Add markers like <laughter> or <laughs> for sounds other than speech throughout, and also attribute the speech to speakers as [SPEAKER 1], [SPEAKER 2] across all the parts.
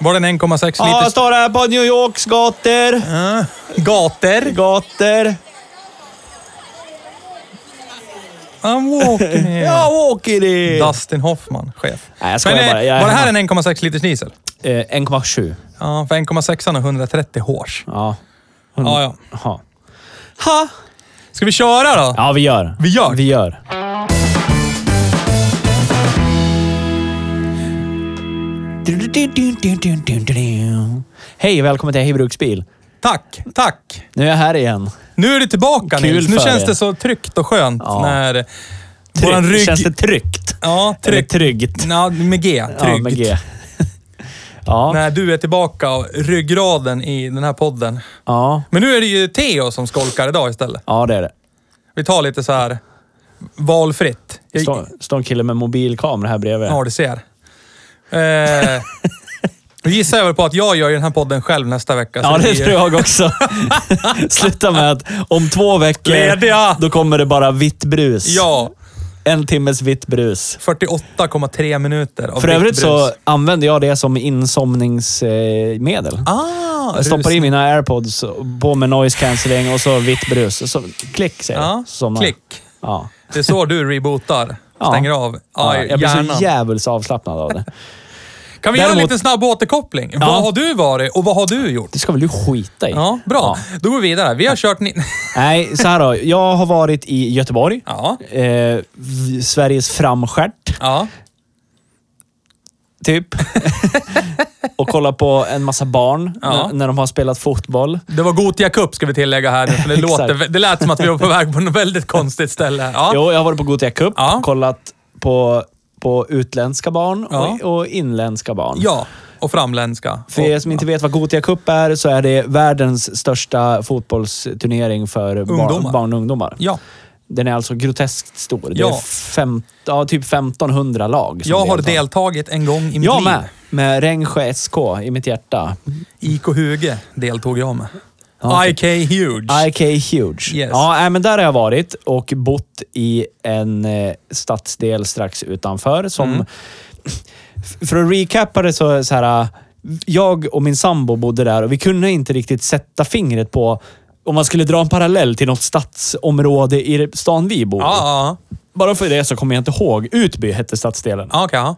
[SPEAKER 1] Var den 1,6 liters?
[SPEAKER 2] Ja, jag står här på New Yorks gator.
[SPEAKER 1] Gator.
[SPEAKER 2] Gator.
[SPEAKER 1] I'm walking here.
[SPEAKER 2] <laughs> Jag åker i...
[SPEAKER 1] Dustin Hoffman, chef.
[SPEAKER 2] Nej, jag skojar
[SPEAKER 1] Men eh,
[SPEAKER 2] bara. Jag är
[SPEAKER 1] var det här
[SPEAKER 2] hemma.
[SPEAKER 1] en 1,6 liters diesel?
[SPEAKER 2] Eh, 1,7.
[SPEAKER 1] Ja, för 1,6 har 130 hårs.
[SPEAKER 2] Ja.
[SPEAKER 1] Ja, ja.
[SPEAKER 2] Jaha. Ha!
[SPEAKER 1] Ska vi köra då?
[SPEAKER 2] Ja, vi gör.
[SPEAKER 1] Vi gör.
[SPEAKER 2] Vi gör. Hej och välkommen till Hej Bruksbil.
[SPEAKER 1] Tack, tack.
[SPEAKER 2] Nu är jag här igen.
[SPEAKER 1] Nu är du tillbaka
[SPEAKER 2] Kul
[SPEAKER 1] Nils. Nu
[SPEAKER 2] för
[SPEAKER 1] känns
[SPEAKER 2] er.
[SPEAKER 1] det så tryggt och skönt
[SPEAKER 2] Ja.
[SPEAKER 1] när eh, våran
[SPEAKER 2] Trygg-
[SPEAKER 1] rygg...
[SPEAKER 2] Känns det tryggt?
[SPEAKER 1] Ja,
[SPEAKER 2] Eller
[SPEAKER 1] tryggt.
[SPEAKER 2] tryggt.
[SPEAKER 1] Ja, med G. Tryggt.
[SPEAKER 2] Ja, med G. <laughs> Ja,
[SPEAKER 1] När du är tillbaka och ryggraden i den här podden.
[SPEAKER 2] ja,
[SPEAKER 1] Men nu är det ju Theo som skolkar idag istället.
[SPEAKER 2] ja, det är det.
[SPEAKER 1] Vi tar lite så här valfritt. Jag-
[SPEAKER 2] Står står en kille med mobilkamera här bredvid.
[SPEAKER 1] Ja, du ser.
[SPEAKER 2] <laughs>
[SPEAKER 1] Eh, då gissar jag väl på att jag gör ju den här podden själv nästa vecka. så
[SPEAKER 2] Ja, det
[SPEAKER 1] blir-
[SPEAKER 2] tror jag också.
[SPEAKER 1] <laughs>
[SPEAKER 2] Sluta med att om två veckor,
[SPEAKER 1] Lediga!
[SPEAKER 2] då kommer det bara vitt brus.
[SPEAKER 1] Ja,
[SPEAKER 2] En timmes vitt brus.
[SPEAKER 1] 48,3 minuter av
[SPEAKER 2] För
[SPEAKER 1] vitt
[SPEAKER 2] övrigt
[SPEAKER 1] brus.
[SPEAKER 2] så använder jag det som insomningsmedel.
[SPEAKER 1] Ah,
[SPEAKER 2] jag stoppar
[SPEAKER 1] rus.
[SPEAKER 2] i mina airpods, på med noise cancelling och så vitt brus. Så klick säger
[SPEAKER 1] Ja,
[SPEAKER 2] jag. Somnar.
[SPEAKER 1] klick.
[SPEAKER 2] Ja.
[SPEAKER 1] Det är så du rebootar.
[SPEAKER 2] <laughs> Ja.
[SPEAKER 1] Stänger av
[SPEAKER 2] Ja,
[SPEAKER 1] ja,
[SPEAKER 2] jag blir
[SPEAKER 1] hjärnan.
[SPEAKER 2] så jävligt avslappnad av
[SPEAKER 1] <laughs>
[SPEAKER 2] det.
[SPEAKER 1] Kan vi göra en
[SPEAKER 2] Däremot-
[SPEAKER 1] liten snabb återkoppling?
[SPEAKER 2] Ja.
[SPEAKER 1] Vad har du varit och vad har du gjort?
[SPEAKER 2] Det ska väl du skita i?
[SPEAKER 1] Ja, bra. Då går vi vidare. Vi har kört... Ni... <laughs>
[SPEAKER 2] Nej, så här då. Jag har varit i Göteborg.
[SPEAKER 1] Ja.
[SPEAKER 2] Eh, v- Sveriges framstjärt.
[SPEAKER 1] Ja.
[SPEAKER 2] typ. och kolla på en massa barn
[SPEAKER 1] Ja.
[SPEAKER 2] när, när de har spelat fotboll.
[SPEAKER 1] Det var Gotia Cup ska vi tillägga här nu, för det,
[SPEAKER 2] <laughs> Exakt.
[SPEAKER 1] låter, det lät som att vi var på väg på något väldigt konstigt ställe. Ja.
[SPEAKER 2] Jo, jag har varit på Gothia Cup
[SPEAKER 1] Ja.
[SPEAKER 2] kollat på, på utländska barn
[SPEAKER 1] Ja.
[SPEAKER 2] och, och inländska barn.
[SPEAKER 1] ja, och framländska.
[SPEAKER 2] För er som inte vet vad Gothia Cup är så är det världens största fotbollsturnering för
[SPEAKER 1] Ungdomar.
[SPEAKER 2] barn, barn och ungdomar.
[SPEAKER 1] Ja.
[SPEAKER 2] Den är alltså groteskt stor. Det
[SPEAKER 1] Ja.
[SPEAKER 2] är fem, ja, typ 1500 lag. som
[SPEAKER 1] Jag har
[SPEAKER 2] deltar.
[SPEAKER 1] deltagit en gång i mitt
[SPEAKER 2] Jag
[SPEAKER 1] liv.
[SPEAKER 2] med. Med Rengsjö SK i mitt hjärta.
[SPEAKER 1] IK Huge deltog jag med.
[SPEAKER 2] Ja.
[SPEAKER 1] IK Huge.
[SPEAKER 2] IK Huge.
[SPEAKER 1] Yes.
[SPEAKER 2] Ja, nej, men där har jag varit och bott i en eh, stadsdel strax utanför. Som,
[SPEAKER 1] Mm.
[SPEAKER 2] F- För att recappa det så, är det så här, eh, jag och min sambo bodde där och vi kunde inte riktigt sätta fingret på om man skulle dra en parallell till något stadsområde i stan vi bor i.
[SPEAKER 1] Ja, ja.
[SPEAKER 2] Bara för det så kommer jag inte ihåg. Utby hette stadsdelen.
[SPEAKER 1] ja. Okej, ja.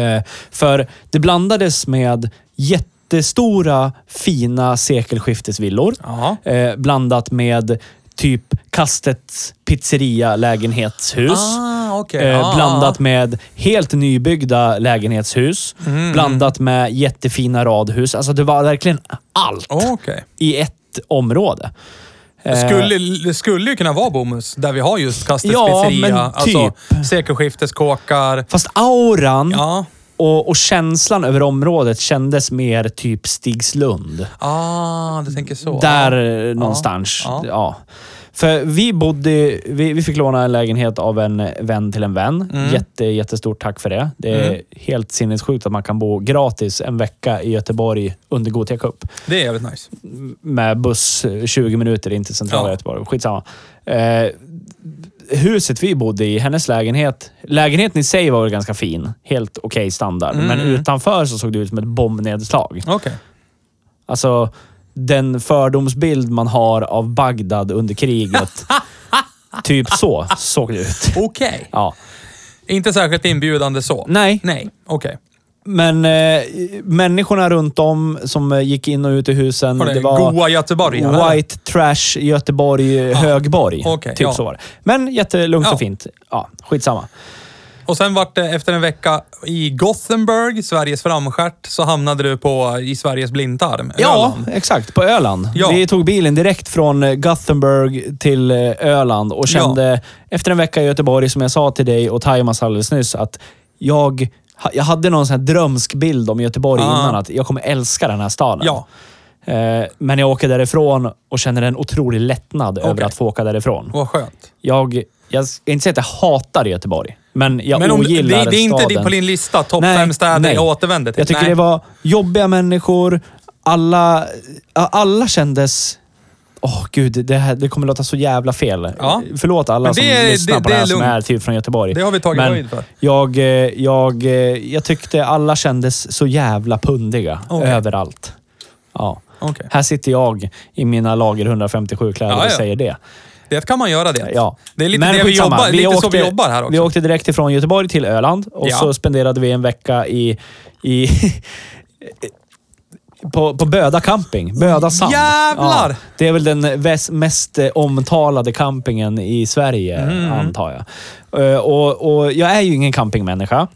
[SPEAKER 2] Eh, för det blandades med jättestora, fina sekelskiftesvillor.
[SPEAKER 1] Ja.
[SPEAKER 2] Eh, blandat med typ kastets pizzeria lägenhetshus.
[SPEAKER 1] Ah, okej.
[SPEAKER 2] Eh,
[SPEAKER 1] Ah,
[SPEAKER 2] blandat
[SPEAKER 1] ah.
[SPEAKER 2] med helt nybyggda lägenhetshus.
[SPEAKER 1] Mm.
[SPEAKER 2] Blandat med jättefina radhus. Alltså det var verkligen allt
[SPEAKER 1] Okej.
[SPEAKER 2] i ett område.
[SPEAKER 1] Det
[SPEAKER 2] Eh,
[SPEAKER 1] Skulle, det skulle ju kunna vara Bomus, där vi har just Kastets
[SPEAKER 2] Ja,
[SPEAKER 1] pizzeria.
[SPEAKER 2] men typ. Mm.
[SPEAKER 1] alltså, sekelskifteskåkar.
[SPEAKER 2] Fast auran
[SPEAKER 1] Ja.
[SPEAKER 2] och, och känslan över området kändes mer typ Stigslund.
[SPEAKER 1] Ah, du tänker så.
[SPEAKER 2] Där eh, någonstans.
[SPEAKER 1] Ja.
[SPEAKER 2] Ja. För vi bodde, vi, vi fick låna en lägenhet av en vän till en vän.
[SPEAKER 1] Mm.
[SPEAKER 2] Jätte, jättestort tack för det. Det är helt sinnessjukt att man kan bo gratis en vecka i Göteborg under Gothia Cup.
[SPEAKER 1] Det är jävligt nice.
[SPEAKER 2] Med buss eh, 20 minuter in till centrala
[SPEAKER 1] Ja.
[SPEAKER 2] Göteborg. Skitsamma. Eh, huset vi bodde i, hennes lägenhet. Lägenheten i sig var väl ganska fin. Helt okej standard.
[SPEAKER 1] Mm.
[SPEAKER 2] Men utanför så såg det ut som ett bombnedslag.
[SPEAKER 1] Okej.
[SPEAKER 2] Alltså, den fördomsbild man har av Bagdad
[SPEAKER 1] <laughs>
[SPEAKER 2] under kriget. typ så såg det ut.
[SPEAKER 1] Okej.
[SPEAKER 2] Ja.
[SPEAKER 1] Inte särskilt inbjudande så.
[SPEAKER 2] Nej.
[SPEAKER 1] Nej, okej.
[SPEAKER 2] Men eh, människorna runt om som eh, gick in och ut i husen.
[SPEAKER 1] Var det,
[SPEAKER 2] det var
[SPEAKER 1] goa Göteborg? eller?
[SPEAKER 2] White trash Göteborg, Högborg.
[SPEAKER 1] okej,
[SPEAKER 2] typ
[SPEAKER 1] ja.
[SPEAKER 2] så var det. Men jättelugnt
[SPEAKER 1] Ja.
[SPEAKER 2] och fint. Ja, skitsamma.
[SPEAKER 1] Och sen vart det efter en vecka i Gothenburg, Sveriges framstjärt, så hamnade du på i Sveriges blindtarm.
[SPEAKER 2] Ja,
[SPEAKER 1] Öland.
[SPEAKER 2] exakt. På Öland.
[SPEAKER 1] Ja.
[SPEAKER 2] Vi tog bilen direkt från eh, Gothenburg till eh, Öland och kände efter en vecka i Göteborg, som jag sa till dig och Taimas alldeles nyss, att jag, ha- jag hade någon sån här drömsk bild om Göteborg
[SPEAKER 1] Ah.
[SPEAKER 2] innan. Att jag kommer älska den här staden.
[SPEAKER 1] Ja.
[SPEAKER 2] Eh, Men jag åker därifrån och känner en otrolig lättnad över
[SPEAKER 1] Okej.
[SPEAKER 2] att få åka därifrån.
[SPEAKER 1] Vad skönt.
[SPEAKER 2] Jag, jag ska inte säga att jag hatar Göteborg, men jag
[SPEAKER 1] Men om, det,
[SPEAKER 2] ogillar
[SPEAKER 1] det är inte
[SPEAKER 2] staden.
[SPEAKER 1] på din lista, topp
[SPEAKER 2] Nej,
[SPEAKER 1] fem städer
[SPEAKER 2] nej.
[SPEAKER 1] jag återvänder till?
[SPEAKER 2] Jag tycker
[SPEAKER 1] nej.
[SPEAKER 2] det var jobbiga människor. Alla, alla kändes... Åh gud, det, här, det kommer låta så jävla fel.
[SPEAKER 1] Ja.
[SPEAKER 2] Förlåt alla
[SPEAKER 1] Men det
[SPEAKER 2] som
[SPEAKER 1] är-
[SPEAKER 2] lyssnar
[SPEAKER 1] det-
[SPEAKER 2] på
[SPEAKER 1] det
[SPEAKER 2] det,
[SPEAKER 1] är
[SPEAKER 2] här som
[SPEAKER 1] lugnt.
[SPEAKER 2] är typ från Göteborg.
[SPEAKER 1] Det har vi tagit
[SPEAKER 2] Men
[SPEAKER 1] höjd för.
[SPEAKER 2] Jag, eh, jag, eh, jag tyckte alla kändes så jävla pundiga
[SPEAKER 1] Okej.
[SPEAKER 2] överallt. Ja.
[SPEAKER 1] Okej.
[SPEAKER 2] Här sitter jag i mina lager 157-kläder
[SPEAKER 1] Ja,
[SPEAKER 2] och
[SPEAKER 1] ja.
[SPEAKER 2] säger det.
[SPEAKER 1] Det kan man göra det.
[SPEAKER 2] Ja.
[SPEAKER 1] Det är lite, det vi
[SPEAKER 2] skitsamma.
[SPEAKER 1] jobbar, lite så vi jobbar här också.
[SPEAKER 2] Vi åkte direkt ifrån Göteborg till Öland och
[SPEAKER 1] Ja.
[SPEAKER 2] så spenderade vi en vecka i... i <laughs> På, på Böda camping. Böda sand.
[SPEAKER 1] Jävlar!
[SPEAKER 2] det är väl den väs- mest eh, omtalade campingen i Sverige,
[SPEAKER 1] Mm.
[SPEAKER 2] antar jag. Eh, Och, och jag är ju ingen campingmänniska.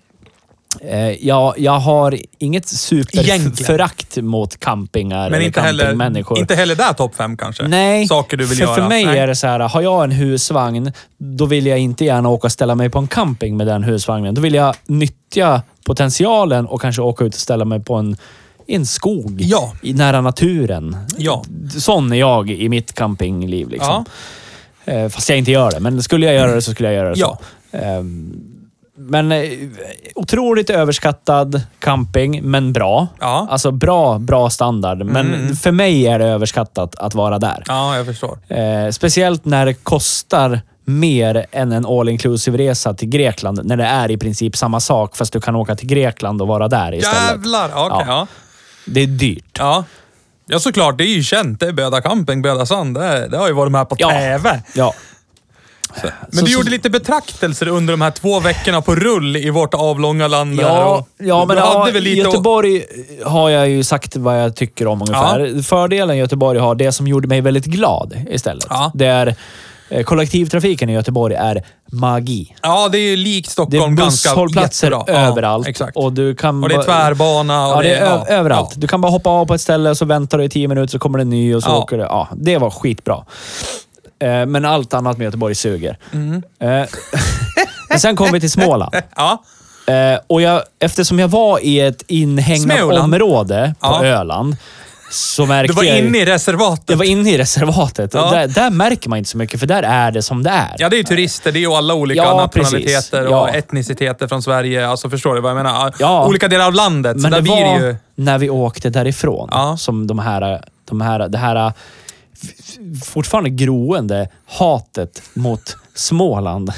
[SPEAKER 2] Eh, Jag, jag har inget superförakt mot campingar
[SPEAKER 1] Men
[SPEAKER 2] eller
[SPEAKER 1] inte heller,
[SPEAKER 2] campingmänniskor.
[SPEAKER 1] inte heller där topp fem kanske?
[SPEAKER 2] Nej,
[SPEAKER 1] Saker du vill
[SPEAKER 2] för,
[SPEAKER 1] göra?
[SPEAKER 2] för mig
[SPEAKER 1] Nej.
[SPEAKER 2] är det så här, har jag en husvagn, då vill jag inte gärna åka och ställa mig på en camping med den husvagnen. Då vill jag nyttja potentialen och kanske åka ut och ställa mig på en, i en skog,
[SPEAKER 1] Ja.
[SPEAKER 2] i nära naturen.
[SPEAKER 1] Ja.
[SPEAKER 2] Sån är jag i mitt campingliv. Liksom. Eh, Fast jag inte gör det, men skulle jag göra det så skulle jag göra det
[SPEAKER 1] Ja.
[SPEAKER 2] så. Eh, Men eh, otroligt överskattad camping, men bra.
[SPEAKER 1] Ja. Mm.
[SPEAKER 2] Alltså bra, bra standard. Men för mig är det överskattat att vara där.
[SPEAKER 1] Ja, jag förstår.
[SPEAKER 2] Eh, speciellt när det kostar mer än en all inclusive resa till Grekland. När det är i princip samma sak, fast du kan åka till Grekland och vara där istället.
[SPEAKER 1] Jävlar! Ja, Okej, ja.
[SPEAKER 2] Ja. Det är dyrt.
[SPEAKER 1] Ja. ja, såklart. Det är ju känt. Det är Böda camping, Böda sand. Det, är- det har ju varit med på
[SPEAKER 2] Ja.
[SPEAKER 1] TV.
[SPEAKER 2] Ja.
[SPEAKER 1] Men
[SPEAKER 2] Så-
[SPEAKER 1] du
[SPEAKER 2] så-
[SPEAKER 1] gjorde lite betraktelser under de här två veckorna på rull i vårt avlånga land. där
[SPEAKER 2] Ja,
[SPEAKER 1] och
[SPEAKER 2] ja, men
[SPEAKER 1] du hade
[SPEAKER 2] ja,
[SPEAKER 1] väl lite att-
[SPEAKER 2] Göteborg har jag ju sagt vad jag tycker om ungefär. Fördelen Göteborg har, det som gjorde mig väldigt glad istället,
[SPEAKER 1] Ja.
[SPEAKER 2] det är eh, kollektivtrafiken i Göteborg är magi.
[SPEAKER 1] Ja, det är ju likt
[SPEAKER 2] Det är
[SPEAKER 1] Stockholm ganska
[SPEAKER 2] busshållplatser
[SPEAKER 1] jättebra.
[SPEAKER 2] överallt.
[SPEAKER 1] Ja, exakt.
[SPEAKER 2] Och, du kan
[SPEAKER 1] Och det är
[SPEAKER 2] bara-
[SPEAKER 1] tvärbana. Och
[SPEAKER 2] ja, det är ö-
[SPEAKER 1] ja,
[SPEAKER 2] överallt.
[SPEAKER 1] Ja.
[SPEAKER 2] Du kan bara hoppa av på ett ställe och så väntar du i tio minuter så kommer det en ny och så
[SPEAKER 1] Ja.
[SPEAKER 2] åker du. Ja, det var skitbra. Eh, Men allt annat med Göteborg suger.
[SPEAKER 1] Mm.
[SPEAKER 2] Eh, <laughs> Men sen kom vi till Småland.
[SPEAKER 1] Ja.
[SPEAKER 2] Eh, Och jag, eftersom jag var i ett inhägnat
[SPEAKER 1] Småland.
[SPEAKER 2] område på
[SPEAKER 1] Ja.
[SPEAKER 2] Öland så märkte
[SPEAKER 1] Du var
[SPEAKER 2] jag...
[SPEAKER 1] inne i reservatet.
[SPEAKER 2] Jag var inne i reservatet.
[SPEAKER 1] Ja.
[SPEAKER 2] Och där, där märker man inte så mycket, för där är det som det är.
[SPEAKER 1] Ja, det är ju turister. Det är ju alla olika
[SPEAKER 2] Ja,
[SPEAKER 1] nationaliteter
[SPEAKER 2] precis. Ja.
[SPEAKER 1] och etniciteter från Sverige. Alltså, förstår du vad jag menar?
[SPEAKER 2] Ja.
[SPEAKER 1] Olika delar av landet. så
[SPEAKER 2] Men
[SPEAKER 1] där
[SPEAKER 2] det
[SPEAKER 1] blir
[SPEAKER 2] var
[SPEAKER 1] det ju...
[SPEAKER 2] när vi åkte därifrån
[SPEAKER 1] Ja.
[SPEAKER 2] som de här, de här, det här f- fortfarande groende hatet mot
[SPEAKER 1] <laughs>
[SPEAKER 2] Småland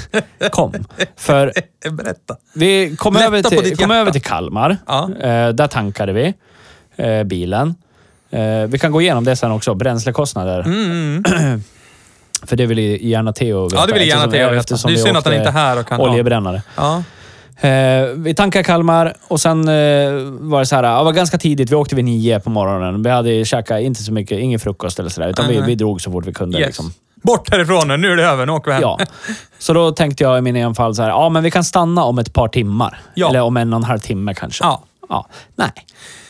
[SPEAKER 2] kom. För
[SPEAKER 1] Eh, Berätta.
[SPEAKER 2] vi kom,
[SPEAKER 1] Lätta
[SPEAKER 2] över
[SPEAKER 1] på
[SPEAKER 2] till,
[SPEAKER 1] ditt
[SPEAKER 2] kom
[SPEAKER 1] hjärta.
[SPEAKER 2] över till Kalmar.
[SPEAKER 1] Ja.
[SPEAKER 2] Eh, där tankade vi eh, bilen. Eh, vi kan gå igenom det sen också, bränslekostnader. <clears throat> För det vill ju gärna Theo veta.
[SPEAKER 1] Mm, Ja, det vill gärna
[SPEAKER 2] eftersom-
[SPEAKER 1] Theo veta.
[SPEAKER 2] liksom, eftersom
[SPEAKER 1] Det är
[SPEAKER 2] vi
[SPEAKER 1] synd att han
[SPEAKER 2] åkte
[SPEAKER 1] inte är här och kan- ja.
[SPEAKER 2] Oljebrännare.
[SPEAKER 1] Ja.
[SPEAKER 2] Eh, vi tankade Kalmar och sen eh, var det så här, ja, det var ganska tidigt. Vi åkte vid nio på morgonen. Vi hade käkat inte så mycket, ingen frukost eller sådär, utan
[SPEAKER 1] Nej,
[SPEAKER 2] vi,
[SPEAKER 1] nej.
[SPEAKER 2] vi drog så fort vi kunde.
[SPEAKER 1] Yes.
[SPEAKER 2] Liksom.
[SPEAKER 1] Bort härifrån nu. Nu är det över. Nu åker vi hem.
[SPEAKER 2] Ja. Så då tänkte jag i min enfald så här, ja men vi kan stanna om ett par timmar.
[SPEAKER 1] Ja.
[SPEAKER 2] Eller om en och en halv timme kanske.
[SPEAKER 1] Ja.
[SPEAKER 2] ja. Nej,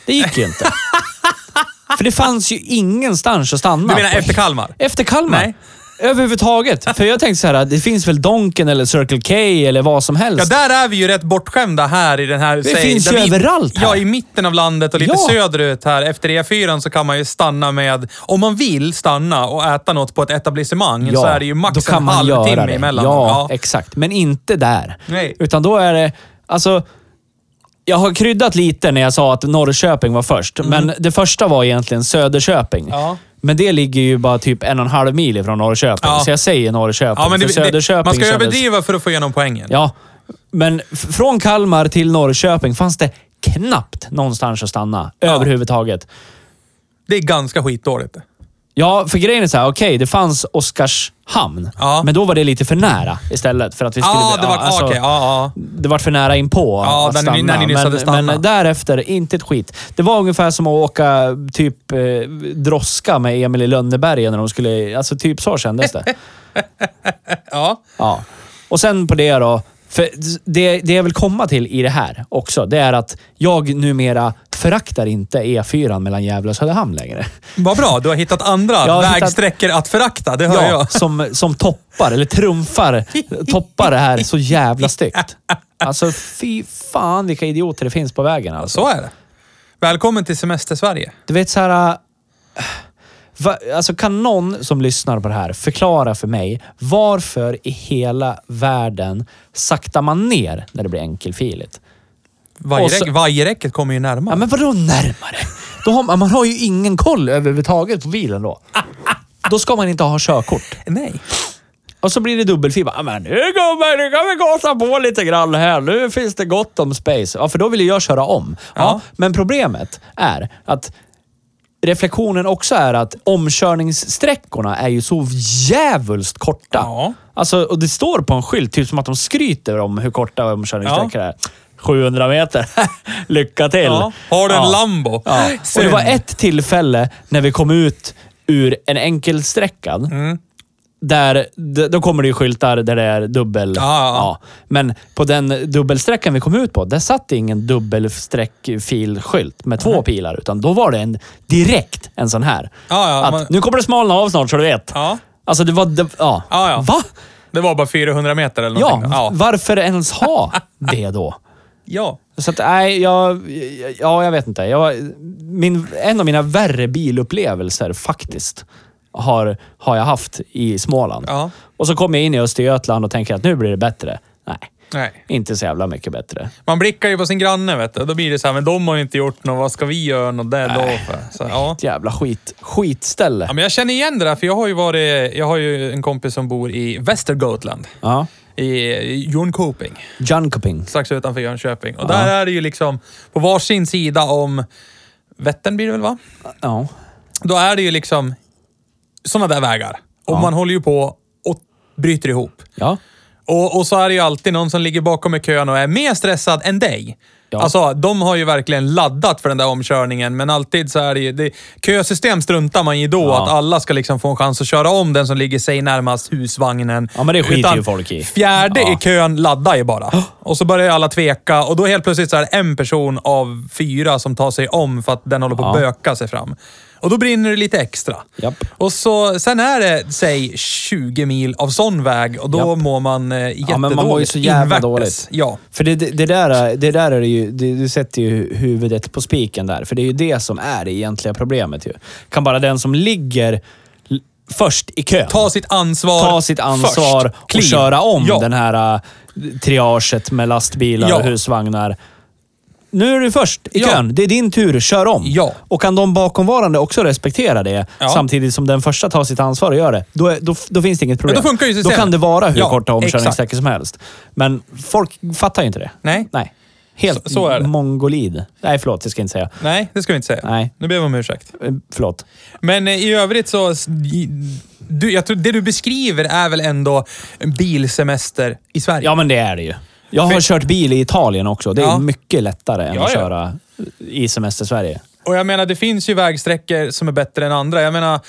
[SPEAKER 2] det gick
[SPEAKER 1] <laughs>
[SPEAKER 2] ju inte. För det fanns ju ingenstans att stanna.
[SPEAKER 1] Du menar
[SPEAKER 2] på-
[SPEAKER 1] efter Kalmar?
[SPEAKER 2] Efter Kalmar?
[SPEAKER 1] Nej.
[SPEAKER 2] Överhuvudtaget. För jag tänkte så här, det finns väl Donken eller Circle K eller vad som helst.
[SPEAKER 1] Ja, där är vi ju rätt bortskämda här i den här... Det
[SPEAKER 2] finns ju överallt här.
[SPEAKER 1] Ja, i mitten av landet och lite
[SPEAKER 2] Ja.
[SPEAKER 1] söderut här. Efter E4 så kan man ju stanna med... Om man vill stanna och äta något på ett etablissemang så är det ju
[SPEAKER 2] då
[SPEAKER 1] max
[SPEAKER 2] kan
[SPEAKER 1] en
[SPEAKER 2] man göra
[SPEAKER 1] halvtimme
[SPEAKER 2] det.
[SPEAKER 1] emellan.
[SPEAKER 2] Ja,
[SPEAKER 1] Ja.
[SPEAKER 2] exakt. Men inte där.
[SPEAKER 1] Nej.
[SPEAKER 2] Utan då är det... Alltså, jag har kryddat lite när jag sa att Norrköping var först, men det första var egentligen Söderköping.
[SPEAKER 1] Mm. Ja.
[SPEAKER 2] Men det ligger ju bara typ en och en halv mil ifrån Norrköping,
[SPEAKER 1] Ja.
[SPEAKER 2] så jag säger Norrköping.
[SPEAKER 1] Ja, men det,
[SPEAKER 2] för
[SPEAKER 1] det,
[SPEAKER 2] Söderköping
[SPEAKER 1] man ska
[SPEAKER 2] kändes-
[SPEAKER 1] överdriva för att få igenom poängen.
[SPEAKER 2] Ja, men f- från Kalmar till Norrköping fanns det knappt någonstans att stanna överhuvudtaget.
[SPEAKER 1] Det är ganska skitdåligt.
[SPEAKER 2] Ja, för grejen är så här, okej, det fanns Oskarshamn.
[SPEAKER 1] Ja.
[SPEAKER 2] Men då var det lite för nära istället. För att vi skulle,
[SPEAKER 1] Ja, det var... Ja,
[SPEAKER 2] alltså,
[SPEAKER 1] okej. Ja, ja.
[SPEAKER 2] det var för nära inpå
[SPEAKER 1] Ja,
[SPEAKER 2] att
[SPEAKER 1] där ni-
[SPEAKER 2] stanna.
[SPEAKER 1] när ni nyss hade
[SPEAKER 2] men,
[SPEAKER 1] stannat.
[SPEAKER 2] men därefter, inte ett skit. Det var ungefär som att åka typ eh, droska med Emil i Lönneberga när de skulle... Alltså typ så
[SPEAKER 1] <laughs>
[SPEAKER 2] kändes det.
[SPEAKER 1] ja.
[SPEAKER 2] Ja. Och sen på det då. För det, det jag vill komma till i det här också, det är att jag numera föraktar inte E4 mellan Gävle och Söderhamn längre.
[SPEAKER 1] Vad bra, du har hittat andra
[SPEAKER 2] Jag har hittat-
[SPEAKER 1] vägsträckor att förakta. Det hör jag.
[SPEAKER 2] som, som toppar, eller trumfar, toppar det här så jävla styggt. Alltså fy fan vilka idioter det finns på vägen alltså.
[SPEAKER 1] Så är det. Välkommen till Semester-Sverige.
[SPEAKER 2] Du vet så här... äh, Va, alltså kan någon som lyssnar på det här förklara för mig varför i hela världen saktar man ner när det blir enkelfiligt? Och
[SPEAKER 1] Vajerräck,
[SPEAKER 2] så-
[SPEAKER 1] vajerräcket kommer ju närmare.
[SPEAKER 2] Ja, men vadå närmare? Då har, man- man har ju ingen koll överhuvudtaget på bilen då. Då ska man inte ha körkort.
[SPEAKER 1] Nej.
[SPEAKER 2] Och så blir det dubbelfiber. Ja, men nu gubben, nu kan vi gasa på lite grann här. Nu finns det gott om space. Ja, för då vill ju jag köra om. Ja,
[SPEAKER 1] Ja.
[SPEAKER 2] Men problemet är att reflektionen också är att omkörningssträckorna är ju så jävulst korta.
[SPEAKER 1] Ja.
[SPEAKER 2] Alltså, och det står på en skylt, typ som att de skryter om hur korta omkörningssträckor är. 700 meter. <laughs> Lycka till!
[SPEAKER 1] Ja. Har du en
[SPEAKER 2] Ja.
[SPEAKER 1] Lambo?
[SPEAKER 2] Ja. Och det
[SPEAKER 1] Synd.
[SPEAKER 2] var ett tillfälle när vi kom ut ur en enkelsträckad.
[SPEAKER 1] Mm.
[SPEAKER 2] Där, d- då kommer det ju skyltar där det är dubbel.
[SPEAKER 1] Ja, ja, ja.
[SPEAKER 2] Men på den dubbelsträckan vi kom ut på, där satt det ingen dubbelsträckfilskylt med två pilar. Utan då var det en, direkt en sån här.
[SPEAKER 1] Ja, ja,
[SPEAKER 2] att,
[SPEAKER 1] man-
[SPEAKER 2] Nu kommer det smalna av snart så du vet.
[SPEAKER 1] Ja.
[SPEAKER 2] Alltså det var... Det, ja.
[SPEAKER 1] Ja, ja.
[SPEAKER 2] Va?
[SPEAKER 1] Det var bara 400 meter eller
[SPEAKER 2] Ja,
[SPEAKER 1] någonting. Ja.
[SPEAKER 2] varför
[SPEAKER 1] <laughs>
[SPEAKER 2] ens ha det då?
[SPEAKER 1] ja.
[SPEAKER 2] Så att, nej, jag, jag- ja, jag vet inte. Jag, min, en av mina värre bilupplevelser faktiskt har, har jag haft i Småland.
[SPEAKER 1] Ja.
[SPEAKER 2] Och så kom jag in i Östergötland och tänker att nu blir det bättre. Nej,
[SPEAKER 1] Nej.
[SPEAKER 2] inte så jävla mycket bättre.
[SPEAKER 1] Man blickar ju på sin granne vet du. Då blir det så här, men de har ju inte gjort något. Vad ska vi göra något där då för? Så, ja.
[SPEAKER 2] Ett jävla skit, skitställe.
[SPEAKER 1] ja. men jag känner igen det där, för jag har ju varit... Jag har ju en kompis som bor i Västergötland.
[SPEAKER 2] Ja.
[SPEAKER 1] I i Jönköping.
[SPEAKER 2] Jönköping.
[SPEAKER 1] strax utanför Jönköping. Och där är det ju liksom på varsin sida om Vättern blir det väl va?
[SPEAKER 2] Ja.
[SPEAKER 1] Då är det ju liksom sådana där vägar. Och
[SPEAKER 2] Ja.
[SPEAKER 1] man håller ju på och bryter ihop.
[SPEAKER 2] Ja.
[SPEAKER 1] Och, och så är det ju alltid någon som ligger bakom i kön och är mer stressad än dig.
[SPEAKER 2] Ja.
[SPEAKER 1] Alltså, de har ju verkligen laddat för den där omkörningen, men alltid så är det ju... Det, kösystem struntar man ju då,
[SPEAKER 2] Ja.
[SPEAKER 1] att alla ska liksom få en chans att köra om den som ligger sig närmast husvagnen.
[SPEAKER 2] Ja, men det skiter
[SPEAKER 1] Utan
[SPEAKER 2] ju folk i.
[SPEAKER 1] Fjärde
[SPEAKER 2] Ja.
[SPEAKER 1] i kön laddar ju bara. Och så börjar ju alla tveka och då helt plötsligt så är det en person av fyra som tar sig om för att den håller på att
[SPEAKER 2] Ja.
[SPEAKER 1] böka sig fram. Och då brinner det lite extra.
[SPEAKER 2] Japp.
[SPEAKER 1] Och så, sen är det, säg 20 mil av sån väg och då
[SPEAKER 2] Japp.
[SPEAKER 1] mår man eh,
[SPEAKER 2] Ja, men man mår ju så jävla dåligt.
[SPEAKER 1] Ja.
[SPEAKER 2] För det, det, det där, det där är det ju, det, du sätter ju huvudet på spiken där. För det är ju det som är det egentliga problemet ju. Kan bara den som ligger l- först i kön
[SPEAKER 1] Ta sitt ansvar
[SPEAKER 2] ta sitt ansvar
[SPEAKER 1] först.
[SPEAKER 2] och
[SPEAKER 1] Kliv.
[SPEAKER 2] köra om
[SPEAKER 1] ja.
[SPEAKER 2] den här äh, triaget med lastbilar
[SPEAKER 1] Ja.
[SPEAKER 2] och husvagnar. Nu är du först i
[SPEAKER 1] Ja.
[SPEAKER 2] kön. Det är din tur. Kör om.
[SPEAKER 1] Ja.
[SPEAKER 2] Och kan de bakomvarande också respektera det
[SPEAKER 1] Ja.
[SPEAKER 2] samtidigt som den första tar sitt ansvar och gör det, då, är, då, då finns det inget problem.
[SPEAKER 1] funkar ju systemet.
[SPEAKER 2] Då kan det vara hur
[SPEAKER 1] Ja,
[SPEAKER 2] korta omkörningssträckor som helst. Men folk fattar ju inte det.
[SPEAKER 1] Nej.
[SPEAKER 2] Nej. Helt
[SPEAKER 1] Så- så är det.
[SPEAKER 2] mongolid. Nej, förlåt. Det ska jag inte säga.
[SPEAKER 1] Nej, det ska vi inte säga.
[SPEAKER 2] Nej.
[SPEAKER 1] Nu ber vi om ursäkt.
[SPEAKER 2] Eh, Förlåt.
[SPEAKER 1] Men eh, i övrigt så... s- i- Du, jag tror det du beskriver är väl ändå en bilsemester i Sverige?
[SPEAKER 2] Ja, men det är det ju. Jag har
[SPEAKER 1] För-
[SPEAKER 2] kört bil i Italien också. Det är
[SPEAKER 1] Ja.
[SPEAKER 2] mycket lättare än
[SPEAKER 1] Ja,
[SPEAKER 2] att
[SPEAKER 1] ja.
[SPEAKER 2] köra i semester-Sverige.
[SPEAKER 1] Och jag menar, det finns ju vägsträckor som är bättre än andra. Jag menar,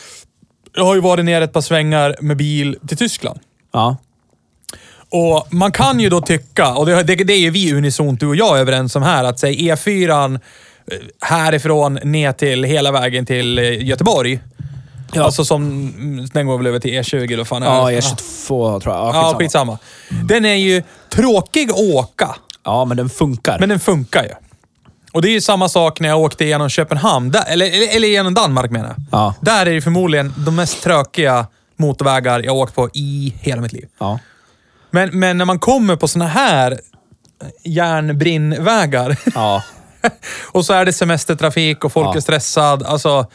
[SPEAKER 1] jag har ju varit ner ett par svängar med bil till Tyskland.
[SPEAKER 2] Ja.
[SPEAKER 1] Och man kan ju då tycka, och det, det, det är ju vi unisont, du och jag, överens om här, att E säg E4 eh, härifrån ner till hela vägen till eh, Göteborg.
[SPEAKER 2] Ja.
[SPEAKER 1] Alltså som, mm, den går väl över till E20 eller vad fan
[SPEAKER 2] Ja, E
[SPEAKER 1] är det?
[SPEAKER 2] E22 tror jag. Ja,
[SPEAKER 1] Ja, skitsamma. Den är ju tråkig att åka,
[SPEAKER 2] Ja, men den funkar.
[SPEAKER 1] men den funkar ju. Och det är ju samma sak när jag åkte genom Köpenhamn, där, eller, eller, eller genom Danmark menar jag.
[SPEAKER 2] Ja.
[SPEAKER 1] Där är det förmodligen de mest tråkiga motorvägar jag har åkt på i hela mitt liv.
[SPEAKER 2] Ja.
[SPEAKER 1] Men, men när man kommer på såna här järnbrinnvägar <laughs>
[SPEAKER 2] Ja.
[SPEAKER 1] och så är det semestertrafik och folk
[SPEAKER 2] Ja.
[SPEAKER 1] är stressad. Alltså,